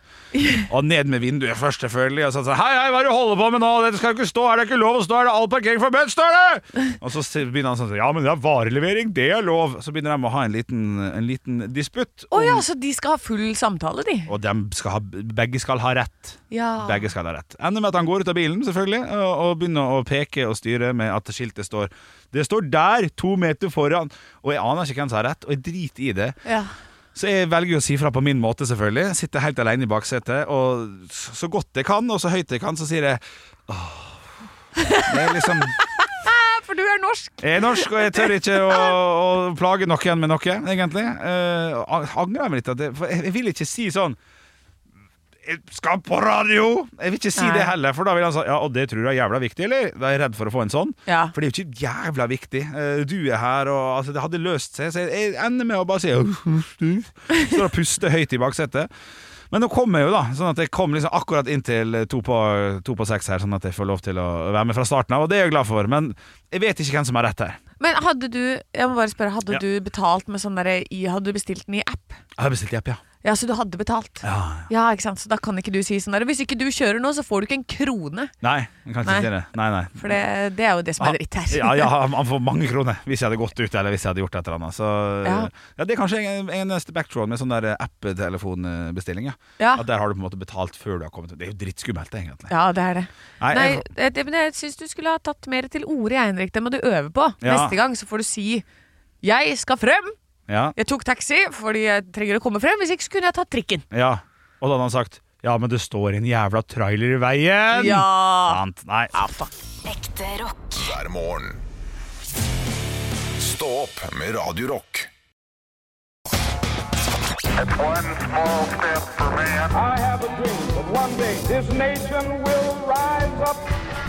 [SPEAKER 2] Og ned med vinduet først, selvfølgelig. Og så sier han, Hei, hei, hva er det du holder på med nå? Dette skal jo ikke stå her, det er ikke lov å stå her, det er all parkering forbudt, står
[SPEAKER 3] [laughs]
[SPEAKER 2] det! Og så sier- begynner han sånn Ja, men det er varelevering, det er lov. Så begynner de å ha en liten, en liten disputt.
[SPEAKER 3] Å
[SPEAKER 2] om-
[SPEAKER 3] ja, så de skal ha full samtale, de.
[SPEAKER 2] og dem skal ha, begge skal ha rett.
[SPEAKER 3] Ja.
[SPEAKER 2] Begge skal ha rett Ender med at han går ut av bilen selvfølgelig og, og begynner å peke og styre med at skiltet står Det står der, to meter foran. Og jeg aner ikke hvem som har rett, og jeg driter i det.
[SPEAKER 3] Ja.
[SPEAKER 2] Så jeg velger å si fra på min måte, selvfølgelig. Sitter helt alene i baksetet, og s- så godt jeg kan, og så høyt jeg kan, så sier jeg Åh. Det er liksom
[SPEAKER 3] For du er norsk.
[SPEAKER 2] jeg er Eh, norsk, og jeg tør ikke å, å plage noen med noe, egentlig. Eh, og angrer jeg meg litt, at jeg, for jeg jeg vil ikke si sånn jeg skal på radio! Jeg vil ikke si
[SPEAKER 3] Nei.
[SPEAKER 2] det heller, for da vil han sånn Ja, og det tror du er jævla viktig, eller? Da er jeg redd for å få en sånn.
[SPEAKER 3] Ja.
[SPEAKER 2] For det er jo ikke jævla viktig. Eh, Du er her, og altså, det hadde løst seg. Så jeg- jeg ender med å bare si Står og puster høyt i baksetet. Men nå kom jeg jo, da. Sånn at jeg kom liksom akkurat inn til to på, to på seks her, sånn at jeg får lov til å være med fra starten av. Og det er jeg glad for. Men jeg vet ikke hvem som har rett her.
[SPEAKER 3] Men hadde du jeg må bare spørre, hadde
[SPEAKER 2] Ja.
[SPEAKER 3] du betalt med sånn derre i- Hadde du bestilt den i app?
[SPEAKER 2] Jeg har bestilt app, ja.
[SPEAKER 3] Ja, så du hadde betalt? Ja, ikke sant? Så da kan ikke du si sånn der Hvis ikke du kjører nå, så får du ikke en krone.
[SPEAKER 2] Nei, jeg kan ikke
[SPEAKER 3] Nei.
[SPEAKER 2] si det. Nei, nei.
[SPEAKER 3] For det, det er jo det som er dritt her.
[SPEAKER 2] Ja, ja, han får mange kroner hvis jeg hadde gått ut eller hvis jeg hadde gjort et eller annet. Så ja.
[SPEAKER 3] Ja.
[SPEAKER 2] Det er kanskje en, en neste backthrow med sånn der app-telefonbestilling. Ja.
[SPEAKER 3] [laughs] Ja.
[SPEAKER 2] At der har du på en måte betalt før du har kommet ut. Det er jo drittskummelt, egentlig.
[SPEAKER 3] Ja, det er det.
[SPEAKER 2] Nei,
[SPEAKER 3] Nei,
[SPEAKER 2] jeg,
[SPEAKER 3] det, det- men jeg syns du skulle ha tatt mer til orde, jeg, Henrik. Det må du øve på.
[SPEAKER 2] Ja.
[SPEAKER 3] Neste gang så får du si 'Jeg skal frem'.
[SPEAKER 2] ja,
[SPEAKER 3] Jeg tok taxi fordi jeg trenger å komme frem. Hvis ikke så kunne jeg tatt trikken.
[SPEAKER 2] ja. Og da hadde han sagt Ja, men det står en jævla trailer i veien!
[SPEAKER 3] Ja.
[SPEAKER 2] Sant. Nei.
[SPEAKER 3] ja fuck.
[SPEAKER 5] Ekte rock.
[SPEAKER 1] hver morgen. Stå opp med Radio Rock.
[SPEAKER 6] One small step for man.
[SPEAKER 7] I have a dream that one day this nation will rise up.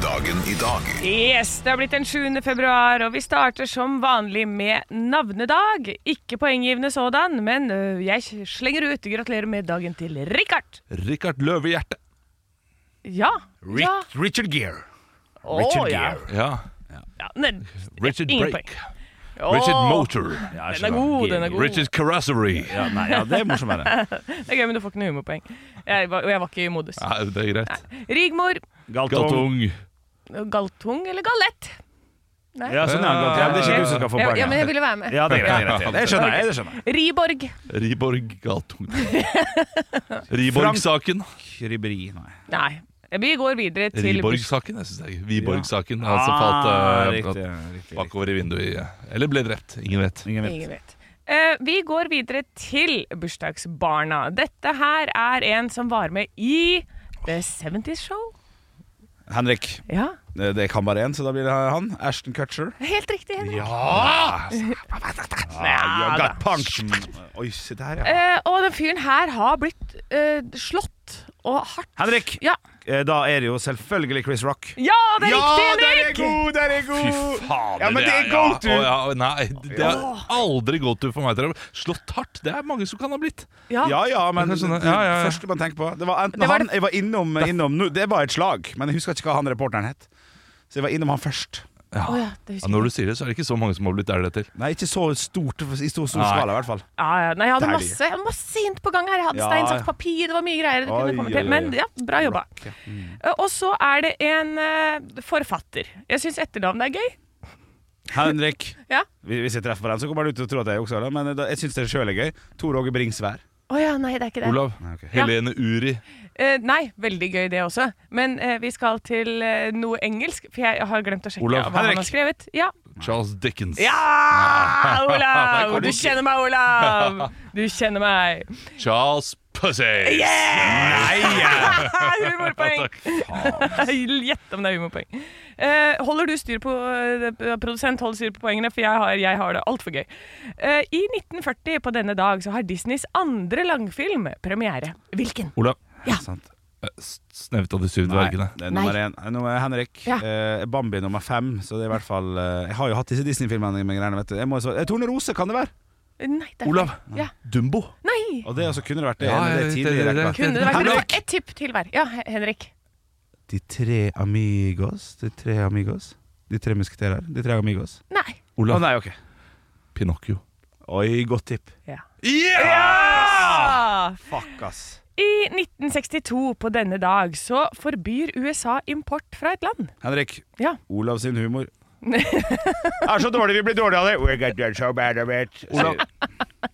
[SPEAKER 1] Dagen i dag
[SPEAKER 3] Yes, det har blitt den 7. februar, og vi starter som vanlig med navnedag. Ikke poenggivende sådan, men øh, jeg slenger ut. Gratulerer med dagen til Richard.
[SPEAKER 4] Rikard Løvehjerte.
[SPEAKER 3] Ja. ja.
[SPEAKER 2] Richard Gere.
[SPEAKER 3] Å,
[SPEAKER 2] Richard
[SPEAKER 3] ja.
[SPEAKER 2] Gere.
[SPEAKER 4] Ja.
[SPEAKER 3] ja. Nei,
[SPEAKER 4] Richard
[SPEAKER 3] ingen
[SPEAKER 4] Brake.
[SPEAKER 3] poeng.
[SPEAKER 4] Richard
[SPEAKER 3] Å,
[SPEAKER 4] Motor.
[SPEAKER 2] Ja,
[SPEAKER 3] Den er god, den er god.
[SPEAKER 4] Richard Carassery.
[SPEAKER 2] Ja, nei, ja, det er morsommere.
[SPEAKER 3] Det er gøy, men du får ikke noe humorpoeng. Jeg var, og jeg var ikke i modus.
[SPEAKER 4] Nei, det er greit.
[SPEAKER 3] Rigmor.
[SPEAKER 2] Galtung.
[SPEAKER 4] Galtung.
[SPEAKER 3] Galtung eller galett?
[SPEAKER 2] Ja, sånn, ja, Galtung. Ja, men det er ikke du som skal få
[SPEAKER 3] Ja,
[SPEAKER 2] poeng.
[SPEAKER 3] ja, men jeg ville være med.
[SPEAKER 2] Ja, det er greit. det er
[SPEAKER 3] [laughs]
[SPEAKER 2] greit. Det skjønner jeg. det skjønner jeg
[SPEAKER 3] Riborg.
[SPEAKER 4] Riborg [laughs] Galtung. Riborg-saken.
[SPEAKER 2] Kriberi, nei.
[SPEAKER 3] Nei. Vi går videre til
[SPEAKER 4] Riborg-saken, jeg synes det er Viborg-saken. Han som
[SPEAKER 2] Ah,
[SPEAKER 4] falt eh,
[SPEAKER 2] riktig, riktig, riktig.
[SPEAKER 4] bakover i vinduet. i- Eller ble drept. Ingen vet.
[SPEAKER 2] Ingen vet.
[SPEAKER 3] Ingen vet. Eh, vi går videre til bursdagsbarna. Dette her er en som var med i The 70's Show.
[SPEAKER 2] Henrik. eh,
[SPEAKER 3] Ja,
[SPEAKER 2] Det det kan bare én, så da blir det han. Ashton Cutcher.
[SPEAKER 3] helt riktig. Henrik.
[SPEAKER 2] Ja! you got punked. Mm. Oi, se der, ja.
[SPEAKER 3] Eh, og den fyren her har blitt eh, slått og hardt.
[SPEAKER 2] Henrik!
[SPEAKER 3] Ja,
[SPEAKER 2] Eh, Da er det jo selvfølgelig Chris Rock.
[SPEAKER 3] ja det er riktig,
[SPEAKER 2] der
[SPEAKER 3] Henrik!
[SPEAKER 2] god! Der er god!
[SPEAKER 4] fader,
[SPEAKER 2] Ja, men det er
[SPEAKER 4] ja.
[SPEAKER 2] go-to.
[SPEAKER 4] Å, ja, å, nei, det er aldri go-to for meg. Trevor. Slått hardt, det er mange som kan ha blitt.
[SPEAKER 3] Ja.
[SPEAKER 2] Ja, ja, men
[SPEAKER 4] Det
[SPEAKER 2] det
[SPEAKER 4] er sånn, ja, ja, ja.
[SPEAKER 2] første man tenker på Det var enten
[SPEAKER 3] Det var
[SPEAKER 2] han Jeg var innom, innom no, Det var et slag, men jeg husker ikke hva han reporteren het. Så jeg var innom han først.
[SPEAKER 3] Å ja, det
[SPEAKER 4] Ja,
[SPEAKER 3] husker jeg.
[SPEAKER 4] når du sier det, så er det ikke så mange som har blitt der det til.
[SPEAKER 2] Nei, ikke så stort i stor, stor
[SPEAKER 4] Nei.
[SPEAKER 2] skala, i hvert fall.
[SPEAKER 3] Ja, ja. Nei, jeg hadde
[SPEAKER 2] Deilig.
[SPEAKER 3] masse, jeg hadde masse hint på gang her. Jeg hadde
[SPEAKER 2] Ja,
[SPEAKER 3] stein,
[SPEAKER 2] ja.
[SPEAKER 3] saks, papir. Det var mye greier.
[SPEAKER 2] Oi,
[SPEAKER 3] Det kunne komme
[SPEAKER 2] oi, oi.
[SPEAKER 3] til. Men ja, bra jobba. Eh, Og så er det en eh, forfatter. Jeg syns etternavnet er gøy.
[SPEAKER 2] Henrik.
[SPEAKER 3] Ja.
[SPEAKER 2] Hvis hvis jeg treffer på den, så kommer han ut og tror at jeg jukser, da, men da- jeg syns det sjøl er gøy. Tor Åge Bringsvær.
[SPEAKER 3] Å ja, nei, det er ikke det.
[SPEAKER 4] Olav. Helene Uri.
[SPEAKER 3] Eh, nei, veldig gøy det også. Men eh, vi skal til eh, noe engelsk, for jeg har glemt å sjekke
[SPEAKER 4] Olav
[SPEAKER 3] hva
[SPEAKER 4] Henrik.
[SPEAKER 3] han har skrevet. Ja,
[SPEAKER 4] Charles Dickens.
[SPEAKER 3] ja [laughs] Olav!
[SPEAKER 4] Det er
[SPEAKER 3] Du
[SPEAKER 4] kort.
[SPEAKER 3] kjenner meg, Olav! Du kjenner meg.
[SPEAKER 4] Charles Pussy.
[SPEAKER 2] Nei!
[SPEAKER 3] [laughs] humorpoeng! [laughs] Gjett om det er humorpoeng. Eh, holder du styr på eh, Produsent, hold styr på poengene, for jeg har, jeg har det altfor gøy. Eh, I 1940 på denne dag så har Disneys andre langfilm premiere. Hvilken?
[SPEAKER 4] Olav.
[SPEAKER 3] Ja.
[SPEAKER 2] [laughs] Sant.
[SPEAKER 4] Eh, S- Snevet av de syv
[SPEAKER 2] Nei,
[SPEAKER 4] dvergene.
[SPEAKER 2] det er nummer én. Nå er Henrik.
[SPEAKER 3] Ja.
[SPEAKER 2] Eh, Bambi nummer fem. Så det er i hvert fall eh, Jeg har jo hatt disse Disney-filmene med greiene, vet du. Jeg må jo så, eh, Tornerose kan det være!
[SPEAKER 3] Nei, det er
[SPEAKER 4] Olav.
[SPEAKER 3] Ja.
[SPEAKER 4] Dumbo.
[SPEAKER 3] Nei!
[SPEAKER 2] Og det også kunne det vært det.
[SPEAKER 4] Ja,
[SPEAKER 2] men det,
[SPEAKER 4] jeg
[SPEAKER 2] er
[SPEAKER 4] vet
[SPEAKER 2] tidligere,
[SPEAKER 4] det, det-
[SPEAKER 2] klart.
[SPEAKER 3] Kunne det vært
[SPEAKER 2] Henrik!
[SPEAKER 3] Henrik? Et tipp til hver. Ja, Hen- Henrik.
[SPEAKER 2] De tre amigos De tre amigos De tre musketerer De tre amigos
[SPEAKER 3] Nei.
[SPEAKER 2] Å
[SPEAKER 4] Olav.
[SPEAKER 2] nei, ok
[SPEAKER 4] Pinocchio.
[SPEAKER 2] Oi, godt tipp
[SPEAKER 3] Ja.
[SPEAKER 2] Fuck ass
[SPEAKER 3] Ah. I 1962 på denne dag så forbyr USA import fra et land.
[SPEAKER 2] Henrik
[SPEAKER 3] Ja.
[SPEAKER 2] Olav sin
[SPEAKER 3] [laughs]
[SPEAKER 2] humor Er så dårlig vi blir dårlige av det We get done so bad of it
[SPEAKER 4] Olav.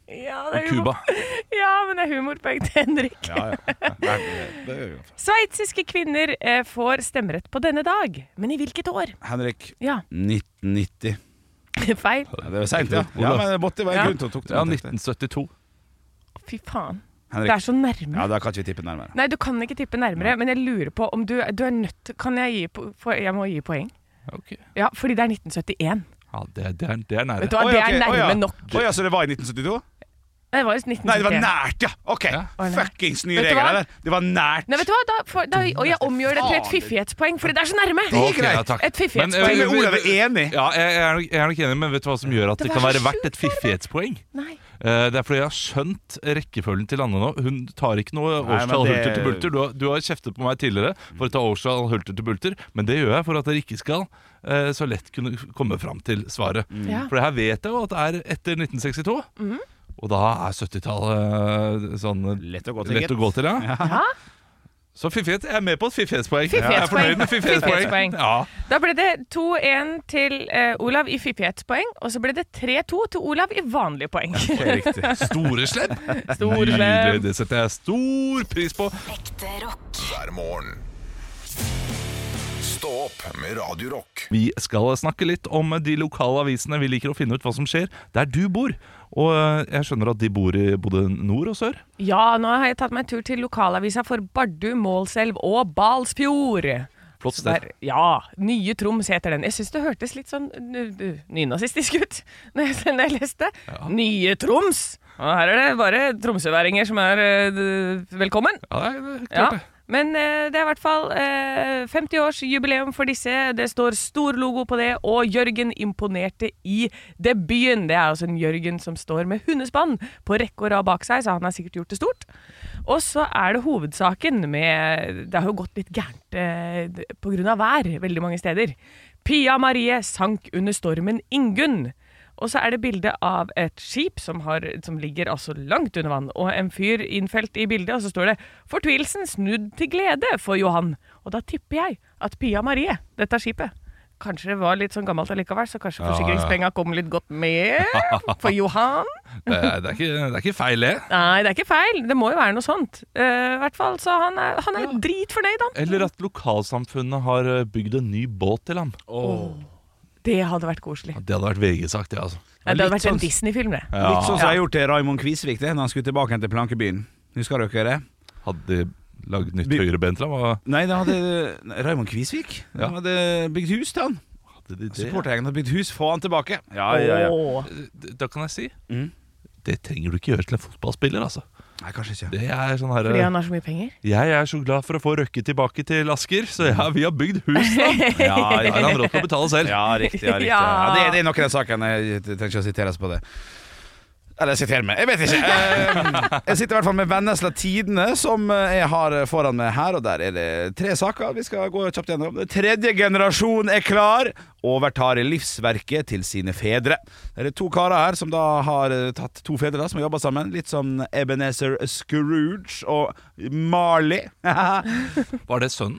[SPEAKER 3] Ja,
[SPEAKER 4] Cuba.
[SPEAKER 3] Ja, men det er humorpoeng til Henrik.
[SPEAKER 2] Ja, ja Nei, det- det er jo for-
[SPEAKER 3] Sveitsiske kvinner eh, får stemmerett på denne dag, men i hvilket år?
[SPEAKER 2] Henrik
[SPEAKER 3] Ja, [laughs]
[SPEAKER 2] 1990
[SPEAKER 3] feil.
[SPEAKER 2] Ja, Det var sent, ja Ja,
[SPEAKER 4] Olav.
[SPEAKER 2] men det måtte være
[SPEAKER 3] Ja.
[SPEAKER 2] en grunn til å tok det
[SPEAKER 4] Ja,
[SPEAKER 2] med, tenkte jeg.
[SPEAKER 4] 1972.
[SPEAKER 3] Fy faen. Det er
[SPEAKER 2] Henrik
[SPEAKER 3] så nærme.
[SPEAKER 2] Ja, da kan ikke vi tippe nærmere
[SPEAKER 3] Nei, du kan ikke tippe nærmere, men jeg lurer på om du, du er nødt til Kan jeg gi po- for, Jeg må gi poeng.
[SPEAKER 4] Ok.
[SPEAKER 3] Ja, fordi det er 1971.
[SPEAKER 4] Ja, det, det, er, det er nære.
[SPEAKER 3] Vet du hva,
[SPEAKER 2] Oi,
[SPEAKER 3] det
[SPEAKER 2] ok,
[SPEAKER 3] er
[SPEAKER 2] oi, ja.
[SPEAKER 3] nærme nok.
[SPEAKER 2] Oi, ja, så det var i 1972?
[SPEAKER 3] Nei, det var jo
[SPEAKER 2] Nei, det var
[SPEAKER 3] 1971.
[SPEAKER 2] nært, ja Ok,
[SPEAKER 4] Ja.
[SPEAKER 3] Oi, nei.
[SPEAKER 2] fuckings nye
[SPEAKER 3] Vet du
[SPEAKER 2] regler
[SPEAKER 3] hva?
[SPEAKER 2] der Det var nært
[SPEAKER 3] Nei, vet du hva, da, får- da, og jeg omgjør det til et
[SPEAKER 2] Fader.
[SPEAKER 3] fiffighetspoeng, fordi det er så nærme!
[SPEAKER 2] Det er
[SPEAKER 4] Ok, ja,
[SPEAKER 2] greit.
[SPEAKER 4] takk.
[SPEAKER 3] Et fiffighetspoeng.
[SPEAKER 4] Men, eh,
[SPEAKER 2] Til og med
[SPEAKER 4] vi-
[SPEAKER 2] Olav er enig.
[SPEAKER 4] Ja, jeg, jeg, er nok, jeg er nok enig, men vet du hva som gjør at det,
[SPEAKER 3] Det
[SPEAKER 4] kan
[SPEAKER 3] var så
[SPEAKER 4] være verdt
[SPEAKER 3] sjukt,
[SPEAKER 4] et fiffighetspoeng?
[SPEAKER 3] Nei.
[SPEAKER 4] Eh, det er fordi jeg har skjønt rekkefølgen til Anne nå. Hun tar ikke noe
[SPEAKER 2] Nei, men
[SPEAKER 4] årstall
[SPEAKER 2] det-
[SPEAKER 4] hulter til bulter. Du har, du har kjeftet på meg tidligere for å ta årstall hulter til bulter, men det gjør jeg for at dere ikke skal eh, så lett kunne komme fram til svaret.
[SPEAKER 3] Ja.
[SPEAKER 4] For det her vet jeg jo at det er etter 1962.
[SPEAKER 3] Mm.
[SPEAKER 4] Og da er 70-tallet eh, sånn
[SPEAKER 2] Lett å gå til,
[SPEAKER 4] lett
[SPEAKER 2] gitt.
[SPEAKER 4] å gå til, ja.
[SPEAKER 3] Ja,
[SPEAKER 4] Så fiffighet. Jeg er med på et fiffighetspoeng. Jeg er
[SPEAKER 3] Fiffighetspoeng.
[SPEAKER 4] fornøyd med
[SPEAKER 3] Fiffighetspoeng.
[SPEAKER 4] fiffighetspoeng. Ja.
[SPEAKER 3] Da ble det 2-1 til eh, Olav i fiffighetspoeng, og så ble det 3-2 til Olav i vanlige poeng.
[SPEAKER 2] Helt [laughs] riktig
[SPEAKER 4] Store slem.
[SPEAKER 3] Store slem.
[SPEAKER 4] Nydelig. Det setter jeg stor pris på.
[SPEAKER 5] Ekte rock.
[SPEAKER 1] hver morgen. Stå opp med Radio Rock.
[SPEAKER 4] Vi skal snakke litt om de lokale avisene. Vi liker å finne ut hva som skjer der du bor. Og eh, jeg skjønner at de bor i både nord og sør.
[SPEAKER 3] Ja, nå har jeg tatt meg en tur til lokalavisa for Bardu, Målselv og Balsfjord.
[SPEAKER 4] Flott sted.
[SPEAKER 3] Der, ja, Nye Troms heter den. Jeg syns det hørtes litt sånn n- n- nynazistisk ut [laughs] når jeg, når jeg leste. Nye Troms! Og her er det bare tromsøværinger som er eh, d- velkommen.
[SPEAKER 4] Ja, det er klart
[SPEAKER 3] Ja.
[SPEAKER 4] det.
[SPEAKER 3] Men eh, det er i hvert fall eh, 50-årsjubileum for disse. Det står stor logo på det, og Jørgen imponerte i debuten. Det er altså en Jørgen som står med hundespann på rekke og rad bak seg, så han har sikkert gjort det stort. Og så er det hovedsaken med Det har jo gått litt gærent eh, pga. vær veldig mange steder. Pia Marie sank under stormen Ingunn. Og så er det bilde av et skip som, har, som ligger altså langt under vann, og en fyr innfelt i bildet, og så står det 'Fortvilelsen snudd til glede for Johan'. Og da tipper jeg at Pia Marie, dette skipet Kanskje det var litt sånn gammelt allikevel, så kanskje forsikringspenga kom litt godt med for Johan?
[SPEAKER 4] Det er, det er, ikke, det er ikke feil, det.
[SPEAKER 3] Nei, det er ikke feil. Det må jo være noe sånt. Eh, I hvert fall, så han er, han er dritfornøyd, han.
[SPEAKER 4] Eller at lokalsamfunnet har eh, bygd en ny båt til ham.
[SPEAKER 3] Det hadde vært koselig.
[SPEAKER 4] Det hadde vært VG-sagt, det, altså.
[SPEAKER 3] Nei, det hadde
[SPEAKER 2] litt
[SPEAKER 3] vært en
[SPEAKER 2] sånn-
[SPEAKER 3] Disney-film, det.
[SPEAKER 2] Litt sånn som jeg gjorde til Raymond Kvisvik det, Når han skulle tilbake igjen til plankebyen. Husker dere det?
[SPEAKER 4] sånn. Hadde de lagd nytt
[SPEAKER 2] Vi-
[SPEAKER 4] høyrebein til ham? hva
[SPEAKER 2] Nei, da hadde nei, Raymond Kvisvik
[SPEAKER 4] Ja.
[SPEAKER 2] Han hadde bygd hus til han.
[SPEAKER 4] Hadde de det?
[SPEAKER 2] Supportergjengen hadde bygd hus. Få han tilbake! Ja, ja, ja.
[SPEAKER 3] Åh.
[SPEAKER 4] Da kan jeg si
[SPEAKER 2] Mm.
[SPEAKER 4] det trenger du ikke gjøre til en fotballspiller, altså.
[SPEAKER 2] Nei, kanskje ikke.
[SPEAKER 4] Det er sånn her,
[SPEAKER 3] Fordi han har så mye penger?
[SPEAKER 4] Jeg er så glad for å få Røkke tilbake til Asker, så ja, vi har bygd hus nå. Da
[SPEAKER 2] Ja, [laughs]
[SPEAKER 4] har han råd til å betale [laughs] selv.
[SPEAKER 2] Ja, riktig. ja, riktig.
[SPEAKER 3] Ja.
[SPEAKER 2] Ja, det, det er noen av sakene jeg trenger ikke å siteres på det. Eller sitere meg, jeg vet ikke. Eh, Jeg sitter i hvert fall med Vennesla Tidene, som eh, jeg har foran meg her. Og der er det tre saker vi skal gå kjapt gjennom. Tredje generasjon er klar. Overtar livsverket til sine fedre. Det er to karer her som da har eh, tatt to fedre da, som har jobba sammen. Litt som Ebenezer Scrooge og Marley. [laughs]
[SPEAKER 4] Var det sønnen?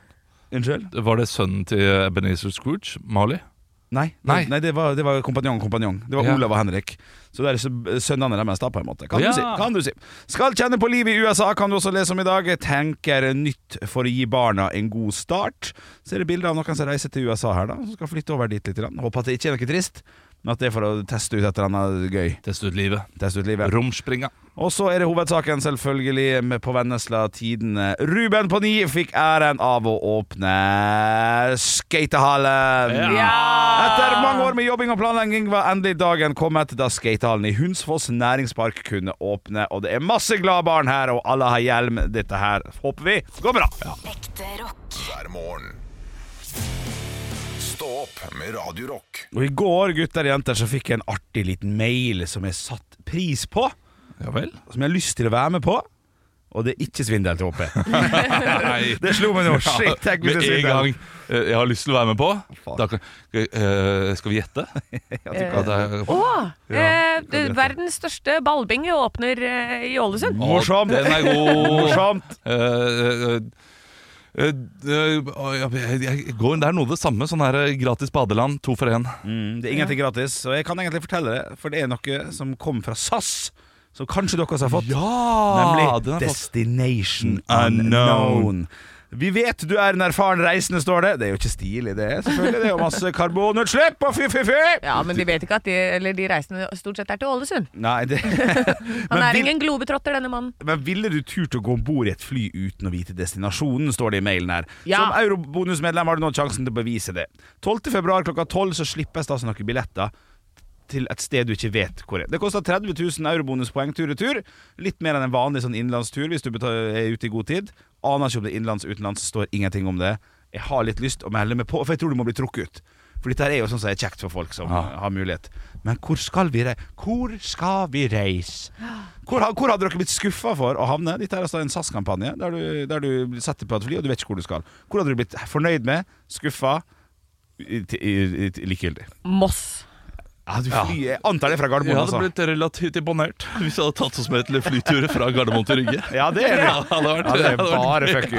[SPEAKER 2] Unnskyld?
[SPEAKER 4] Var det sønnen til Ebenezer Scrooge, Mali?
[SPEAKER 2] Nei,
[SPEAKER 4] Nei.
[SPEAKER 2] nei. det, var, det var kompanjong, kompanjong. Det var
[SPEAKER 4] Ja.
[SPEAKER 2] Olav og Henrik. Så det er så- sønnene deres, da, på en måte. Kan,
[SPEAKER 4] Ja.
[SPEAKER 2] du si, kan du si. Skal kjenne på livet i USA, kan du også lese om i dag. Tenker nytt for å gi barna en god start. Så er det bilder av noen som reiser til USA her, da. Som skal flytte over dit litt. grann. Håper at det ikke er noe trist, men at det er for å teste ut et eller annet gøy.
[SPEAKER 4] Teste ut livet.
[SPEAKER 2] Teste ut livet.
[SPEAKER 4] Romspringa.
[SPEAKER 2] Og så er det hovedsaken, selvfølgelig, med på Vennesla Tidene. Ruben på ni fikk æren av å åpne skatehallen. Etter mange år med jobbing og planlegging var endelig dagen kommet da skatehallen i Hunsfoss næringspark kunne åpne. Og det er masse glade barn her, og alle har hjelm. Dette her håper vi går bra.
[SPEAKER 5] Ekte rock.
[SPEAKER 1] hver morgen. Stå opp med Radio Rock.
[SPEAKER 2] Og i går, gutter og jenter, så fikk jeg en artig liten mail som jeg satt pris på.
[SPEAKER 4] Ja vel?
[SPEAKER 2] Som jeg har lyst til å være med på. Og det er ikke svindel til HP.
[SPEAKER 4] [laughs] Nei.
[SPEAKER 2] Det slo
[SPEAKER 4] [laughs]
[SPEAKER 2] meg nå. Shit, tenk hvis
[SPEAKER 4] Med
[SPEAKER 2] det er
[SPEAKER 4] en gang
[SPEAKER 2] svindel.
[SPEAKER 4] eh, jeg har lyst til å være med på, da kan, eh, skal vi gjette? Ja, det er-
[SPEAKER 8] Åh,
[SPEAKER 4] Ja,
[SPEAKER 8] eh,
[SPEAKER 4] det er greit.
[SPEAKER 8] verdens største ballbinge åpner eh, i Ålesund.
[SPEAKER 2] Morsomt.
[SPEAKER 4] Den er god.
[SPEAKER 2] Morsomt.
[SPEAKER 4] Eh, eh, eh, eh, å, jeg- jeg- jeg går- Det er noe av det samme. Sånn her eh, gratis badeland, to for én.
[SPEAKER 2] Mm, det er ingenting gratis. Og jeg kan egentlig fortelle det, for det er noe som kom fra SAS. Som kanskje dere også har fått.
[SPEAKER 8] Ah,
[SPEAKER 4] Ja!
[SPEAKER 2] Nemlig
[SPEAKER 4] Den er flott.
[SPEAKER 2] Destination
[SPEAKER 8] Mm,
[SPEAKER 4] Unknown.
[SPEAKER 2] Unknown. Vi vet du er en erfaren reisende, står det. Det er jo ikke stilig, det. selvfølgelig Det er jo masse karbonutslipp og fy-fy-fy!
[SPEAKER 8] Ja, men de vet ikke at de, eller de reisende stort sett er til Ålesund.
[SPEAKER 2] Nei,
[SPEAKER 8] [laughs]
[SPEAKER 2] det
[SPEAKER 8] Han
[SPEAKER 2] men,
[SPEAKER 8] er
[SPEAKER 2] vil-
[SPEAKER 8] ingen globetrotter, denne mannen.
[SPEAKER 2] men ville du turt å gå om bord i et fly uten å vite destinasjonen, står det i mailen her.
[SPEAKER 8] Ja.
[SPEAKER 2] Som eurobonusmedlem har du nå sjansen til å bevise det. 12. februar klokka 12 så slippes det altså noen billetter til et sted du ikke vet hvor er. Det koster 30 000 eurobonuspoeng tur-retur. Litt mer enn en vanlig sånn innenlandstur hvis du betaler, er ute i god tid. Aner ikke om det er innenlands utenlands, står ingenting om det. Jeg har litt lyst å melde meg på, for jeg tror du må bli trukket ut. For dette her er jo sånn som er kjekt for folk som har mulighet. Men hvor skal vi reise? Hvor skal vi reise? Hvor, ha- hvor hadde dere blitt skuffa for å havne? Dette er altså en SAS-kampanje der, du- der du setter på et fly og du vet ikke hvor du skal. Hvor hadde du blitt fornøyd med, skuffa, i- i- i- likegyldig?
[SPEAKER 8] Moss.
[SPEAKER 2] Ja, du fly, Jeg antar det er fra
[SPEAKER 4] Jeg
[SPEAKER 2] Gardermoen,
[SPEAKER 4] hadde
[SPEAKER 2] altså.
[SPEAKER 4] blitt relativt imponert [laughs] hvis jeg hadde tatt oss med til flyturer fra Gardermoen til
[SPEAKER 2] [laughs]
[SPEAKER 4] Rygge.
[SPEAKER 2] Ja, det er det.
[SPEAKER 4] Ja, det hadde vært,
[SPEAKER 2] [laughs] Ja, det er
[SPEAKER 4] det hadde vært-
[SPEAKER 2] bare fuck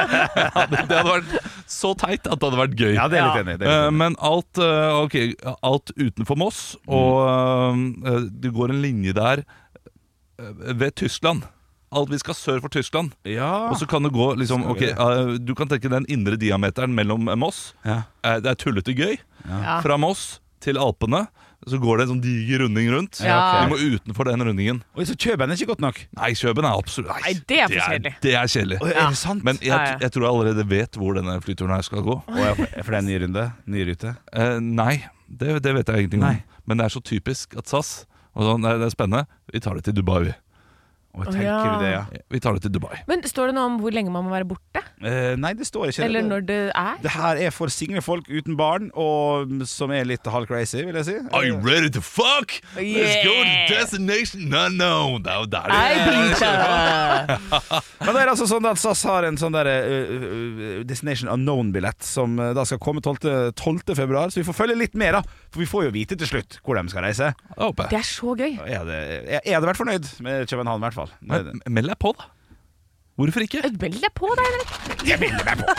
[SPEAKER 2] you.
[SPEAKER 4] det hadde vært så teit at det hadde vært gøy.
[SPEAKER 2] Ja, det er litt enig. Det Mm. er
[SPEAKER 4] Eh,
[SPEAKER 2] litt enig.
[SPEAKER 4] Men alt, eh, ok, alt utenfor Moss, og eh, det går en linje der eh, ved Tyskland. Alt Vi skal sør for Tyskland. Og så kan det gå liksom, ok, eh, Du kan tenke den indre diameteren mellom eh, Moss.
[SPEAKER 2] Ja.
[SPEAKER 4] Eh, Det er tullete gøy.
[SPEAKER 8] Ja.
[SPEAKER 4] Fra Moss til Alpene. Så går det en sånn diger runding rundt.
[SPEAKER 8] Ja,
[SPEAKER 4] Vi må utenfor den rundingen.
[SPEAKER 2] Oi, så Kjøben er ikke godt nok.
[SPEAKER 4] Nei, Kjøben er absolutt
[SPEAKER 8] Nei, det er for kjedelig.
[SPEAKER 4] Det er kjedelig.
[SPEAKER 2] Oi, Er det sant?
[SPEAKER 4] Men
[SPEAKER 8] Ja,
[SPEAKER 4] jeg,
[SPEAKER 8] ja.
[SPEAKER 4] jeg tror jeg allerede vet hvor denne flyturen her skal gå.
[SPEAKER 2] Å, ja, for for det er en ny runde? Ny rute?
[SPEAKER 4] Eh, nei, det, det vet jeg ingenting om.
[SPEAKER 2] Nei.
[SPEAKER 4] Men det er så typisk at SAS og sånn, nei, Det er spennende. Vi tar det til Dubai. vi.
[SPEAKER 2] Og
[SPEAKER 3] Å,
[SPEAKER 2] tenker
[SPEAKER 3] ja.
[SPEAKER 2] du det, ja?
[SPEAKER 4] Vi tar det til Dubai.
[SPEAKER 3] Men står det noe om hvor lenge man må være borte?
[SPEAKER 2] Eh, nei, det står ikke
[SPEAKER 3] Eller når det er?
[SPEAKER 2] Det her er for single folk uten barn, og mm, som er litt halv-crazy, vil jeg si.
[SPEAKER 4] Are you ready to fuck? Let's go to
[SPEAKER 3] Yeah.
[SPEAKER 4] destination unknown. Det er jo der det
[SPEAKER 3] Nei,
[SPEAKER 2] Men det er altså sånn at SAS har en sånn der eh, eh, Destination Unknown-billett som eh, da skal komme 12. 12. februar, så vi får følge litt mer, da. For vi får jo vite til slutt hvor de skal reise.
[SPEAKER 4] Jeg håper jeg.
[SPEAKER 3] Det er så gøy.
[SPEAKER 2] Jeg hadde, jeg jeg hadde vært fornøyd med København, i hvert fall. Det-
[SPEAKER 4] [laughs] Men Meld deg på, da. Hvorfor ikke?
[SPEAKER 3] Meld deg på, da, Henrik.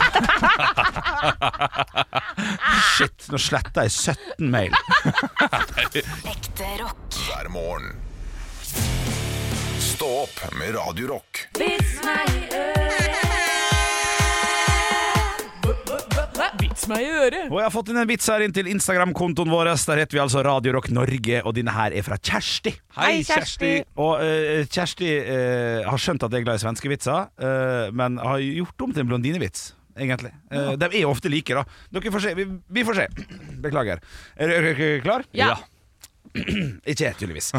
[SPEAKER 2] Shit, nå sletta jeg 17 mail.
[SPEAKER 5] Ekte rock.
[SPEAKER 1] hver morgen. Stå opp med Radio Rock.
[SPEAKER 3] Vits meg i øret.
[SPEAKER 2] Og jeg har fått inn en vits her inn til Instagram-kontoen vår. Der heter vi altså Radio Rock Norge, og denne her er fra Kjersti.
[SPEAKER 3] Hei, Kjersti.
[SPEAKER 2] Og eh, Kjersti eh, har skjønt at jeg er glad i svenske vitser, eh, men har gjort om til en blondinevits. Egentlig. Eh, De er jo ofte like, da. Dere får se. Vi, vi får se. Beklager. Er dere- er dere klar?
[SPEAKER 3] Ja.
[SPEAKER 2] Ikke jeg, tydeligvis.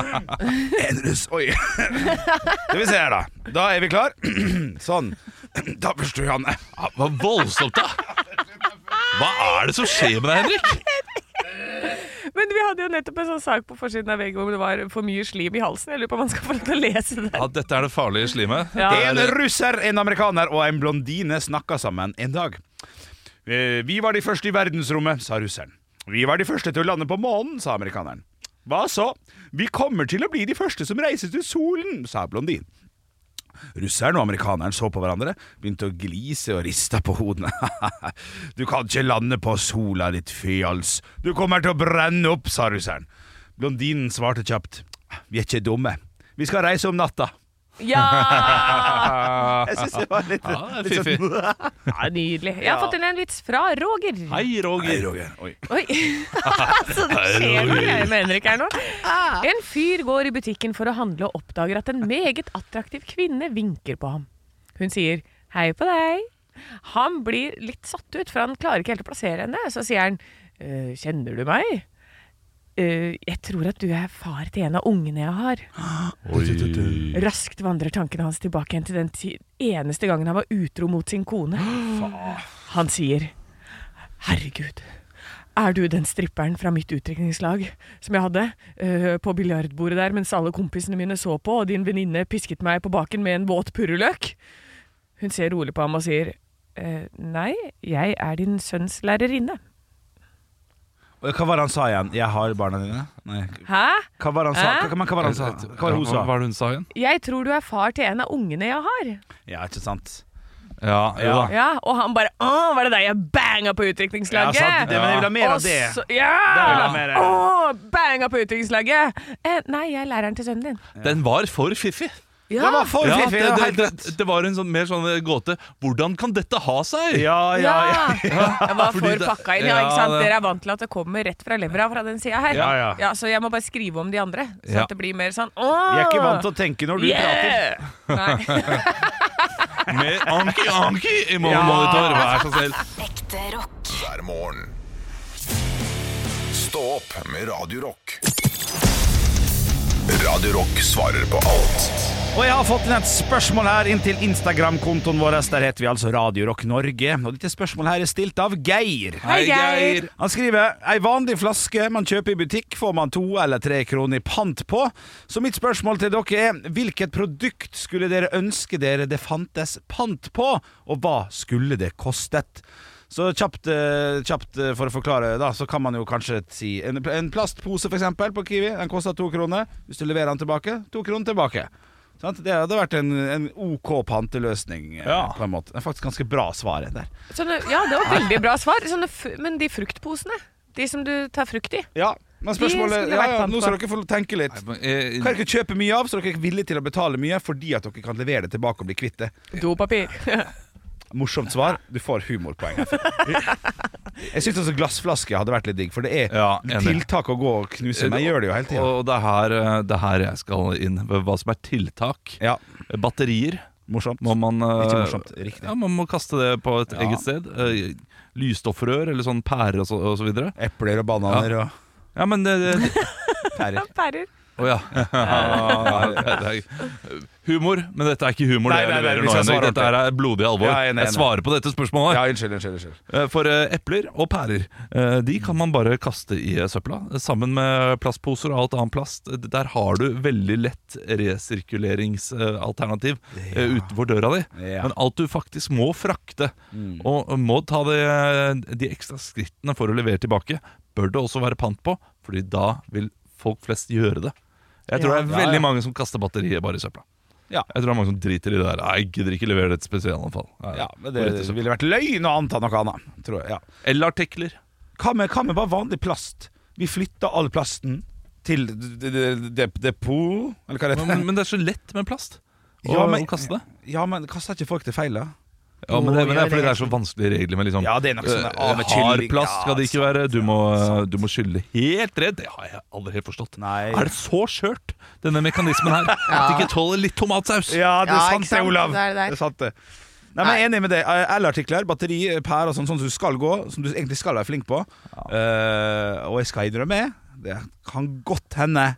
[SPEAKER 2] [laughs] en russ Oi. [laughs] Skal vi se her, da. Da er vi klar. [clears throat] sånn. Da forstår jeg han.
[SPEAKER 4] Ja, Ah, Hva voldsomt, da! Hva er det som skjer med deg, Henrik?
[SPEAKER 3] Men vi hadde jo nettopp en sånn sak på forsiden av VG hvor det var for mye slim i halsen. Jeg lurer på om man skal få lov til å lese det.
[SPEAKER 4] Ja, Dette er det farlige slimet.
[SPEAKER 3] Ja.
[SPEAKER 2] En russer, en amerikaner og en blondine snakka sammen en dag. «Eh, Vi var de første i verdensrommet, sa russeren. Vi var de første til å lande på månen, sa amerikaneren. Hva så? Vi kommer til å bli de første som reiser til solen, sa blondinen. Russeren og amerikaneren så på hverandre, begynte å glise og rista på hodene. [laughs] du kan ikke lande på sola, ditt fjols. Du kommer til å brenne opp, sa russeren. Blondinen svarte kjapt. Vi er ikke dumme. Vi skal reise om natta.
[SPEAKER 3] Ja!
[SPEAKER 2] [laughs]
[SPEAKER 3] [laughs]
[SPEAKER 2] Jeg syns det var litt,
[SPEAKER 4] Ja,
[SPEAKER 2] litt
[SPEAKER 4] fiffig.
[SPEAKER 2] sånn
[SPEAKER 3] Nydelig. Jeg har fått inn en vits fra Roger.
[SPEAKER 4] Hei,
[SPEAKER 2] Hei,
[SPEAKER 4] Roger.
[SPEAKER 2] Roger. Oi.
[SPEAKER 3] Oi. [laughs] Så det skjer noe greier med Henrik her nå. En fyr går i butikken for å handle og oppdager at en meget attraktiv kvinne vinker på ham. Hun sier 'hei på deg'. Han blir litt satt ut, for han klarer ikke helt å plassere henne. Så sier han «Eh, 'kjenner du meg'? «Eh, jeg tror at du er far til en av ungene jeg har. Raskt vandrer tankene hans tilbake igjen til den ti- eneste gangen han var utro mot sin kone. Han sier Herregud, er du den stripperen fra mitt utdrikningslag som jeg hadde øh, på biljardbordet der mens alle kompisene mine så på, og din venninne pisket meg på baken med en våt purreløk? Hun ser rolig på ham og sier «Eh, Nei, jeg er din sønns lærerinne.
[SPEAKER 2] Og Hva var det han sa igjen? 'Jeg har barna dine'? Nei.
[SPEAKER 3] Hæ?
[SPEAKER 2] Hva var det han sa?
[SPEAKER 3] Hæ?
[SPEAKER 2] Hva, men hva var det han sa? Hva var det hun
[SPEAKER 4] Hva
[SPEAKER 2] sa?
[SPEAKER 4] var det hun sa igjen?
[SPEAKER 3] Jeg tror du er far til en av ungene jeg har.
[SPEAKER 2] Ja, ikke sant?
[SPEAKER 4] Ja, jo da.
[SPEAKER 3] Ja, Og han bare Å, var det deg jeg banga på
[SPEAKER 2] Ah. Ja,
[SPEAKER 3] utdrikningslaget?
[SPEAKER 2] sant. Det, men jeg vil ha mer
[SPEAKER 3] Og
[SPEAKER 2] av det.
[SPEAKER 3] så- Ja!
[SPEAKER 2] vil jeg ha mer eh, av
[SPEAKER 3] Å, banga på utdrikningslaget! Eh, nei, jeg er læreren til sønnen din.
[SPEAKER 4] Den var for fiffig.
[SPEAKER 2] Det var for
[SPEAKER 4] Ja,
[SPEAKER 2] fiffig!
[SPEAKER 4] det,
[SPEAKER 2] det var
[SPEAKER 4] det,
[SPEAKER 2] helt rett.
[SPEAKER 4] det, det var en sånn, mer sånn gåte. Hvordan kan dette ha seg?
[SPEAKER 2] Ja, ja, [laughs] ja.
[SPEAKER 3] Jeg var
[SPEAKER 4] Fordi
[SPEAKER 3] for
[SPEAKER 4] det-
[SPEAKER 3] pakka inn, ja,
[SPEAKER 4] ja,
[SPEAKER 3] ikke sant?
[SPEAKER 4] det-
[SPEAKER 3] Dere er vant til at det kommer rett fra levra fra den sida her.
[SPEAKER 2] Ja, ja.
[SPEAKER 3] Så jeg må bare skrive om de andre, så
[SPEAKER 4] Ja.
[SPEAKER 3] at det blir mer sånn
[SPEAKER 2] Jeg er ikke vant til å tenke når du prater.
[SPEAKER 3] Nei.
[SPEAKER 4] Med Anki Anki i
[SPEAKER 2] Ja.
[SPEAKER 4] Monitor, vær så snill.
[SPEAKER 5] Ekte rock.
[SPEAKER 1] hver morgen. Stå opp med Radio Rock. Radio Rock svarer på alt
[SPEAKER 2] Og jeg har fått inn et spørsmål her inn til Instagram-kontoen vår. Der heter vi altså Radio Rock Norge. Og dette spørsmålet her er stilt av Geir.
[SPEAKER 4] Hei, Geir.
[SPEAKER 2] Han skriver Ei vanlig flaske man kjøper i butikk får man to eller tre kroner i pant på. Så mitt spørsmål til dere er hvilket produkt skulle dere ønske dere det fantes pant på, og hva skulle det kostet? Så kjapt, eh, kjapt eh, for å forklare, da, så kan man jo kanskje si en, en plastpose for eksempel på Kiwi, den koster to kroner. Hvis du leverer den tilbake, to kroner tilbake. Sant? Det hadde vært en, en OK panteløsning, eh,
[SPEAKER 4] Ja.
[SPEAKER 2] på en måte. Det er faktisk ganske bra svaret der.
[SPEAKER 3] Sånne, ja, det var veldig bra svar. Sånne, f- men de fruktposene? De som du tar frukt i?
[SPEAKER 2] Ja, men
[SPEAKER 3] skulle
[SPEAKER 2] spørsmålet
[SPEAKER 3] vært
[SPEAKER 2] ja, ja,
[SPEAKER 3] pant
[SPEAKER 2] Nå
[SPEAKER 3] på.
[SPEAKER 2] skal dere få tenke litt.
[SPEAKER 4] Nei, men, eh,
[SPEAKER 2] Kan dere kjøpe mye av, så dere er villige til å betale mye fordi at dere kan levere det tilbake og bli kvitt det? [laughs]
[SPEAKER 3] Dopapir.
[SPEAKER 2] Morsomt svar. Du får humorpoeng. herfra.
[SPEAKER 3] [laughs]
[SPEAKER 2] Jeg syns også glassflaske hadde vært litt digg, for det er
[SPEAKER 4] Ja, enig.
[SPEAKER 2] tiltak å gå og knuse med. Jeg gjør det jo hele tida.
[SPEAKER 4] Og det er her, eh, det er her jeg skal inn. Hva som er tiltak.
[SPEAKER 2] Ja,
[SPEAKER 4] Batterier
[SPEAKER 2] morsomt.
[SPEAKER 4] må man eh,
[SPEAKER 2] Ikke morsomt. Riktig.
[SPEAKER 4] Ja, man må kaste det på et eget sted. Eh, Lysstoffrør eller sånn pærer og så, og så videre.
[SPEAKER 2] Epler og bananer og
[SPEAKER 4] [laughs] Ja, men det, det,
[SPEAKER 2] pærer.
[SPEAKER 3] Pærer.
[SPEAKER 4] Å ja. Nei, det er humor, men dette er ikke humor.
[SPEAKER 2] Nei,
[SPEAKER 4] det jeg
[SPEAKER 2] nei, nei,
[SPEAKER 4] leverer
[SPEAKER 2] vi
[SPEAKER 4] nå,
[SPEAKER 2] skal
[SPEAKER 4] Henrik.
[SPEAKER 2] svare
[SPEAKER 4] Dette her er blodig alvor.
[SPEAKER 2] Ja, jeg er enig,
[SPEAKER 4] jeg svarer på dette spørsmålet.
[SPEAKER 2] Ja, unnskyld, unnskyld, unnskyld.
[SPEAKER 4] Eh, For eh, epler og pærer eh, De kan man bare kaste i eh, søpla eh, Sammen med plastposer og alt annet plast Eh, Der har du veldig lett resirkuleringsalternativ eh, Utenfor døra di
[SPEAKER 2] Ja. Mm.
[SPEAKER 4] Men alt du faktisk må frakte Og må ta de, de ekstra skrittene for å levere tilbake Bør det også være pant på Fordi da vil folk flest gjøre det Jeg tror
[SPEAKER 2] Ja.
[SPEAKER 4] det
[SPEAKER 2] Ja,
[SPEAKER 4] er
[SPEAKER 2] ja.
[SPEAKER 4] veldig mange som kaster batteriet bare i søpla
[SPEAKER 2] Ja.
[SPEAKER 4] Jeg tror det er mange som driter i det der Nei, jeg gidder ikke levere det til spesialanfall Nei,
[SPEAKER 2] Ja, men
[SPEAKER 4] rett i
[SPEAKER 2] Det
[SPEAKER 4] søpla.
[SPEAKER 2] ville vært løgn å anta noe annet. Tror jeg, ja.
[SPEAKER 4] Eller artikler
[SPEAKER 2] Hva med, hva med bare vanlig plast? Vi flytter all plasten til d- d- d- depot Eller hva det heter
[SPEAKER 4] Men, men det er så lett med plast å,
[SPEAKER 2] Ja, men-
[SPEAKER 4] å kaste det.
[SPEAKER 2] Ja, men kaster ikke folk til feil, da?
[SPEAKER 4] Ja, men det,
[SPEAKER 8] gjør
[SPEAKER 4] men det er
[SPEAKER 8] det.
[SPEAKER 4] fordi det er så vanskelige regler med liksom
[SPEAKER 2] Ja, det er nok sånn,
[SPEAKER 4] eh,
[SPEAKER 2] ah, med
[SPEAKER 4] Hard
[SPEAKER 2] kylling,
[SPEAKER 4] plast
[SPEAKER 2] ja,
[SPEAKER 4] skal det ikke være. Du må, du må skylle helt redd. Det har jeg aldri helt forstått.
[SPEAKER 2] Nei.
[SPEAKER 4] Er det så skjørt, denne mekanismen
[SPEAKER 2] [laughs]
[SPEAKER 4] her? At det ikke tåler litt tomatsaus?
[SPEAKER 2] Ja, det er
[SPEAKER 8] Ja,
[SPEAKER 2] sant
[SPEAKER 8] ikke
[SPEAKER 2] det,
[SPEAKER 8] sant?
[SPEAKER 2] Olav.
[SPEAKER 8] Det er det der.
[SPEAKER 2] Det er sant det. Nei, men jeg er enig med det. L-artikler, batteri, pære og sånn, sånn som du skal gå, som du egentlig skal være flink på. Eh, og jeg skal innrømme, det kan godt hende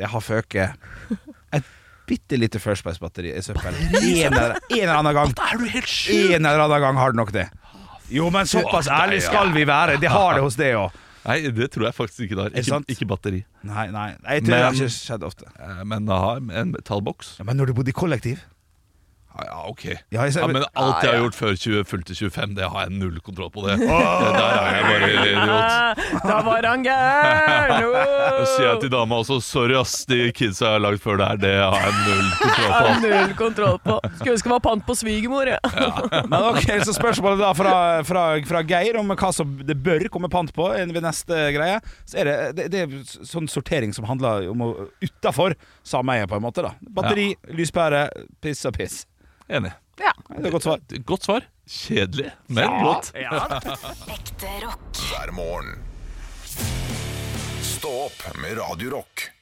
[SPEAKER 2] det har føket et bitte lite Firspace-batteri i søppelen. En, eller- en eller annen gang.
[SPEAKER 4] Da er du helt sjuk!
[SPEAKER 2] En eller annen gang har det nok det. Jo, men såpass ærlig skal vi være. Det har det hos det òg.
[SPEAKER 4] Nei, det tror jeg faktisk ikke det er.
[SPEAKER 2] det sant?
[SPEAKER 4] Ikke, ikke batteri.
[SPEAKER 2] Nei, nei. Jeg tror det har
[SPEAKER 4] Men-
[SPEAKER 2] ikke skjedd ofte.
[SPEAKER 4] Eh, Men jeg har en metallboks.
[SPEAKER 2] Ja, men når du bodde i kollektiv
[SPEAKER 4] Ja, ja, ok.
[SPEAKER 2] Ja, jeg ser- Ah,
[SPEAKER 4] Ja, men alt jeg har gjort før 20, fulgte 25, det har jeg null kontroll på. det Det Der er jeg bare idiot.
[SPEAKER 3] Da var han
[SPEAKER 2] [laughs]
[SPEAKER 3] gæren!
[SPEAKER 4] Så sier jeg til dama også Sorry ass, de kidsa jeg har lagd før det her, det har jeg null kontroll på.
[SPEAKER 3] Har
[SPEAKER 4] ass.»
[SPEAKER 3] null kontroll på. Skulle ønske det var pant på svigermor. Ja.
[SPEAKER 2] Men ok, Så spørsmålet da fra, fra, fra Geir om hva som det bør komme pant på ved neste greie, så er det, det, det er sånn sortering som handler om å utafor sameiet, på en måte. da Batteri, lyspære, piss og piss.
[SPEAKER 4] Enig.
[SPEAKER 2] Det er et godt svar.
[SPEAKER 4] Godt svar. Kjedelig, men godt.
[SPEAKER 5] Ekte rock.
[SPEAKER 1] hver morgen. Stå opp med Radio Rock.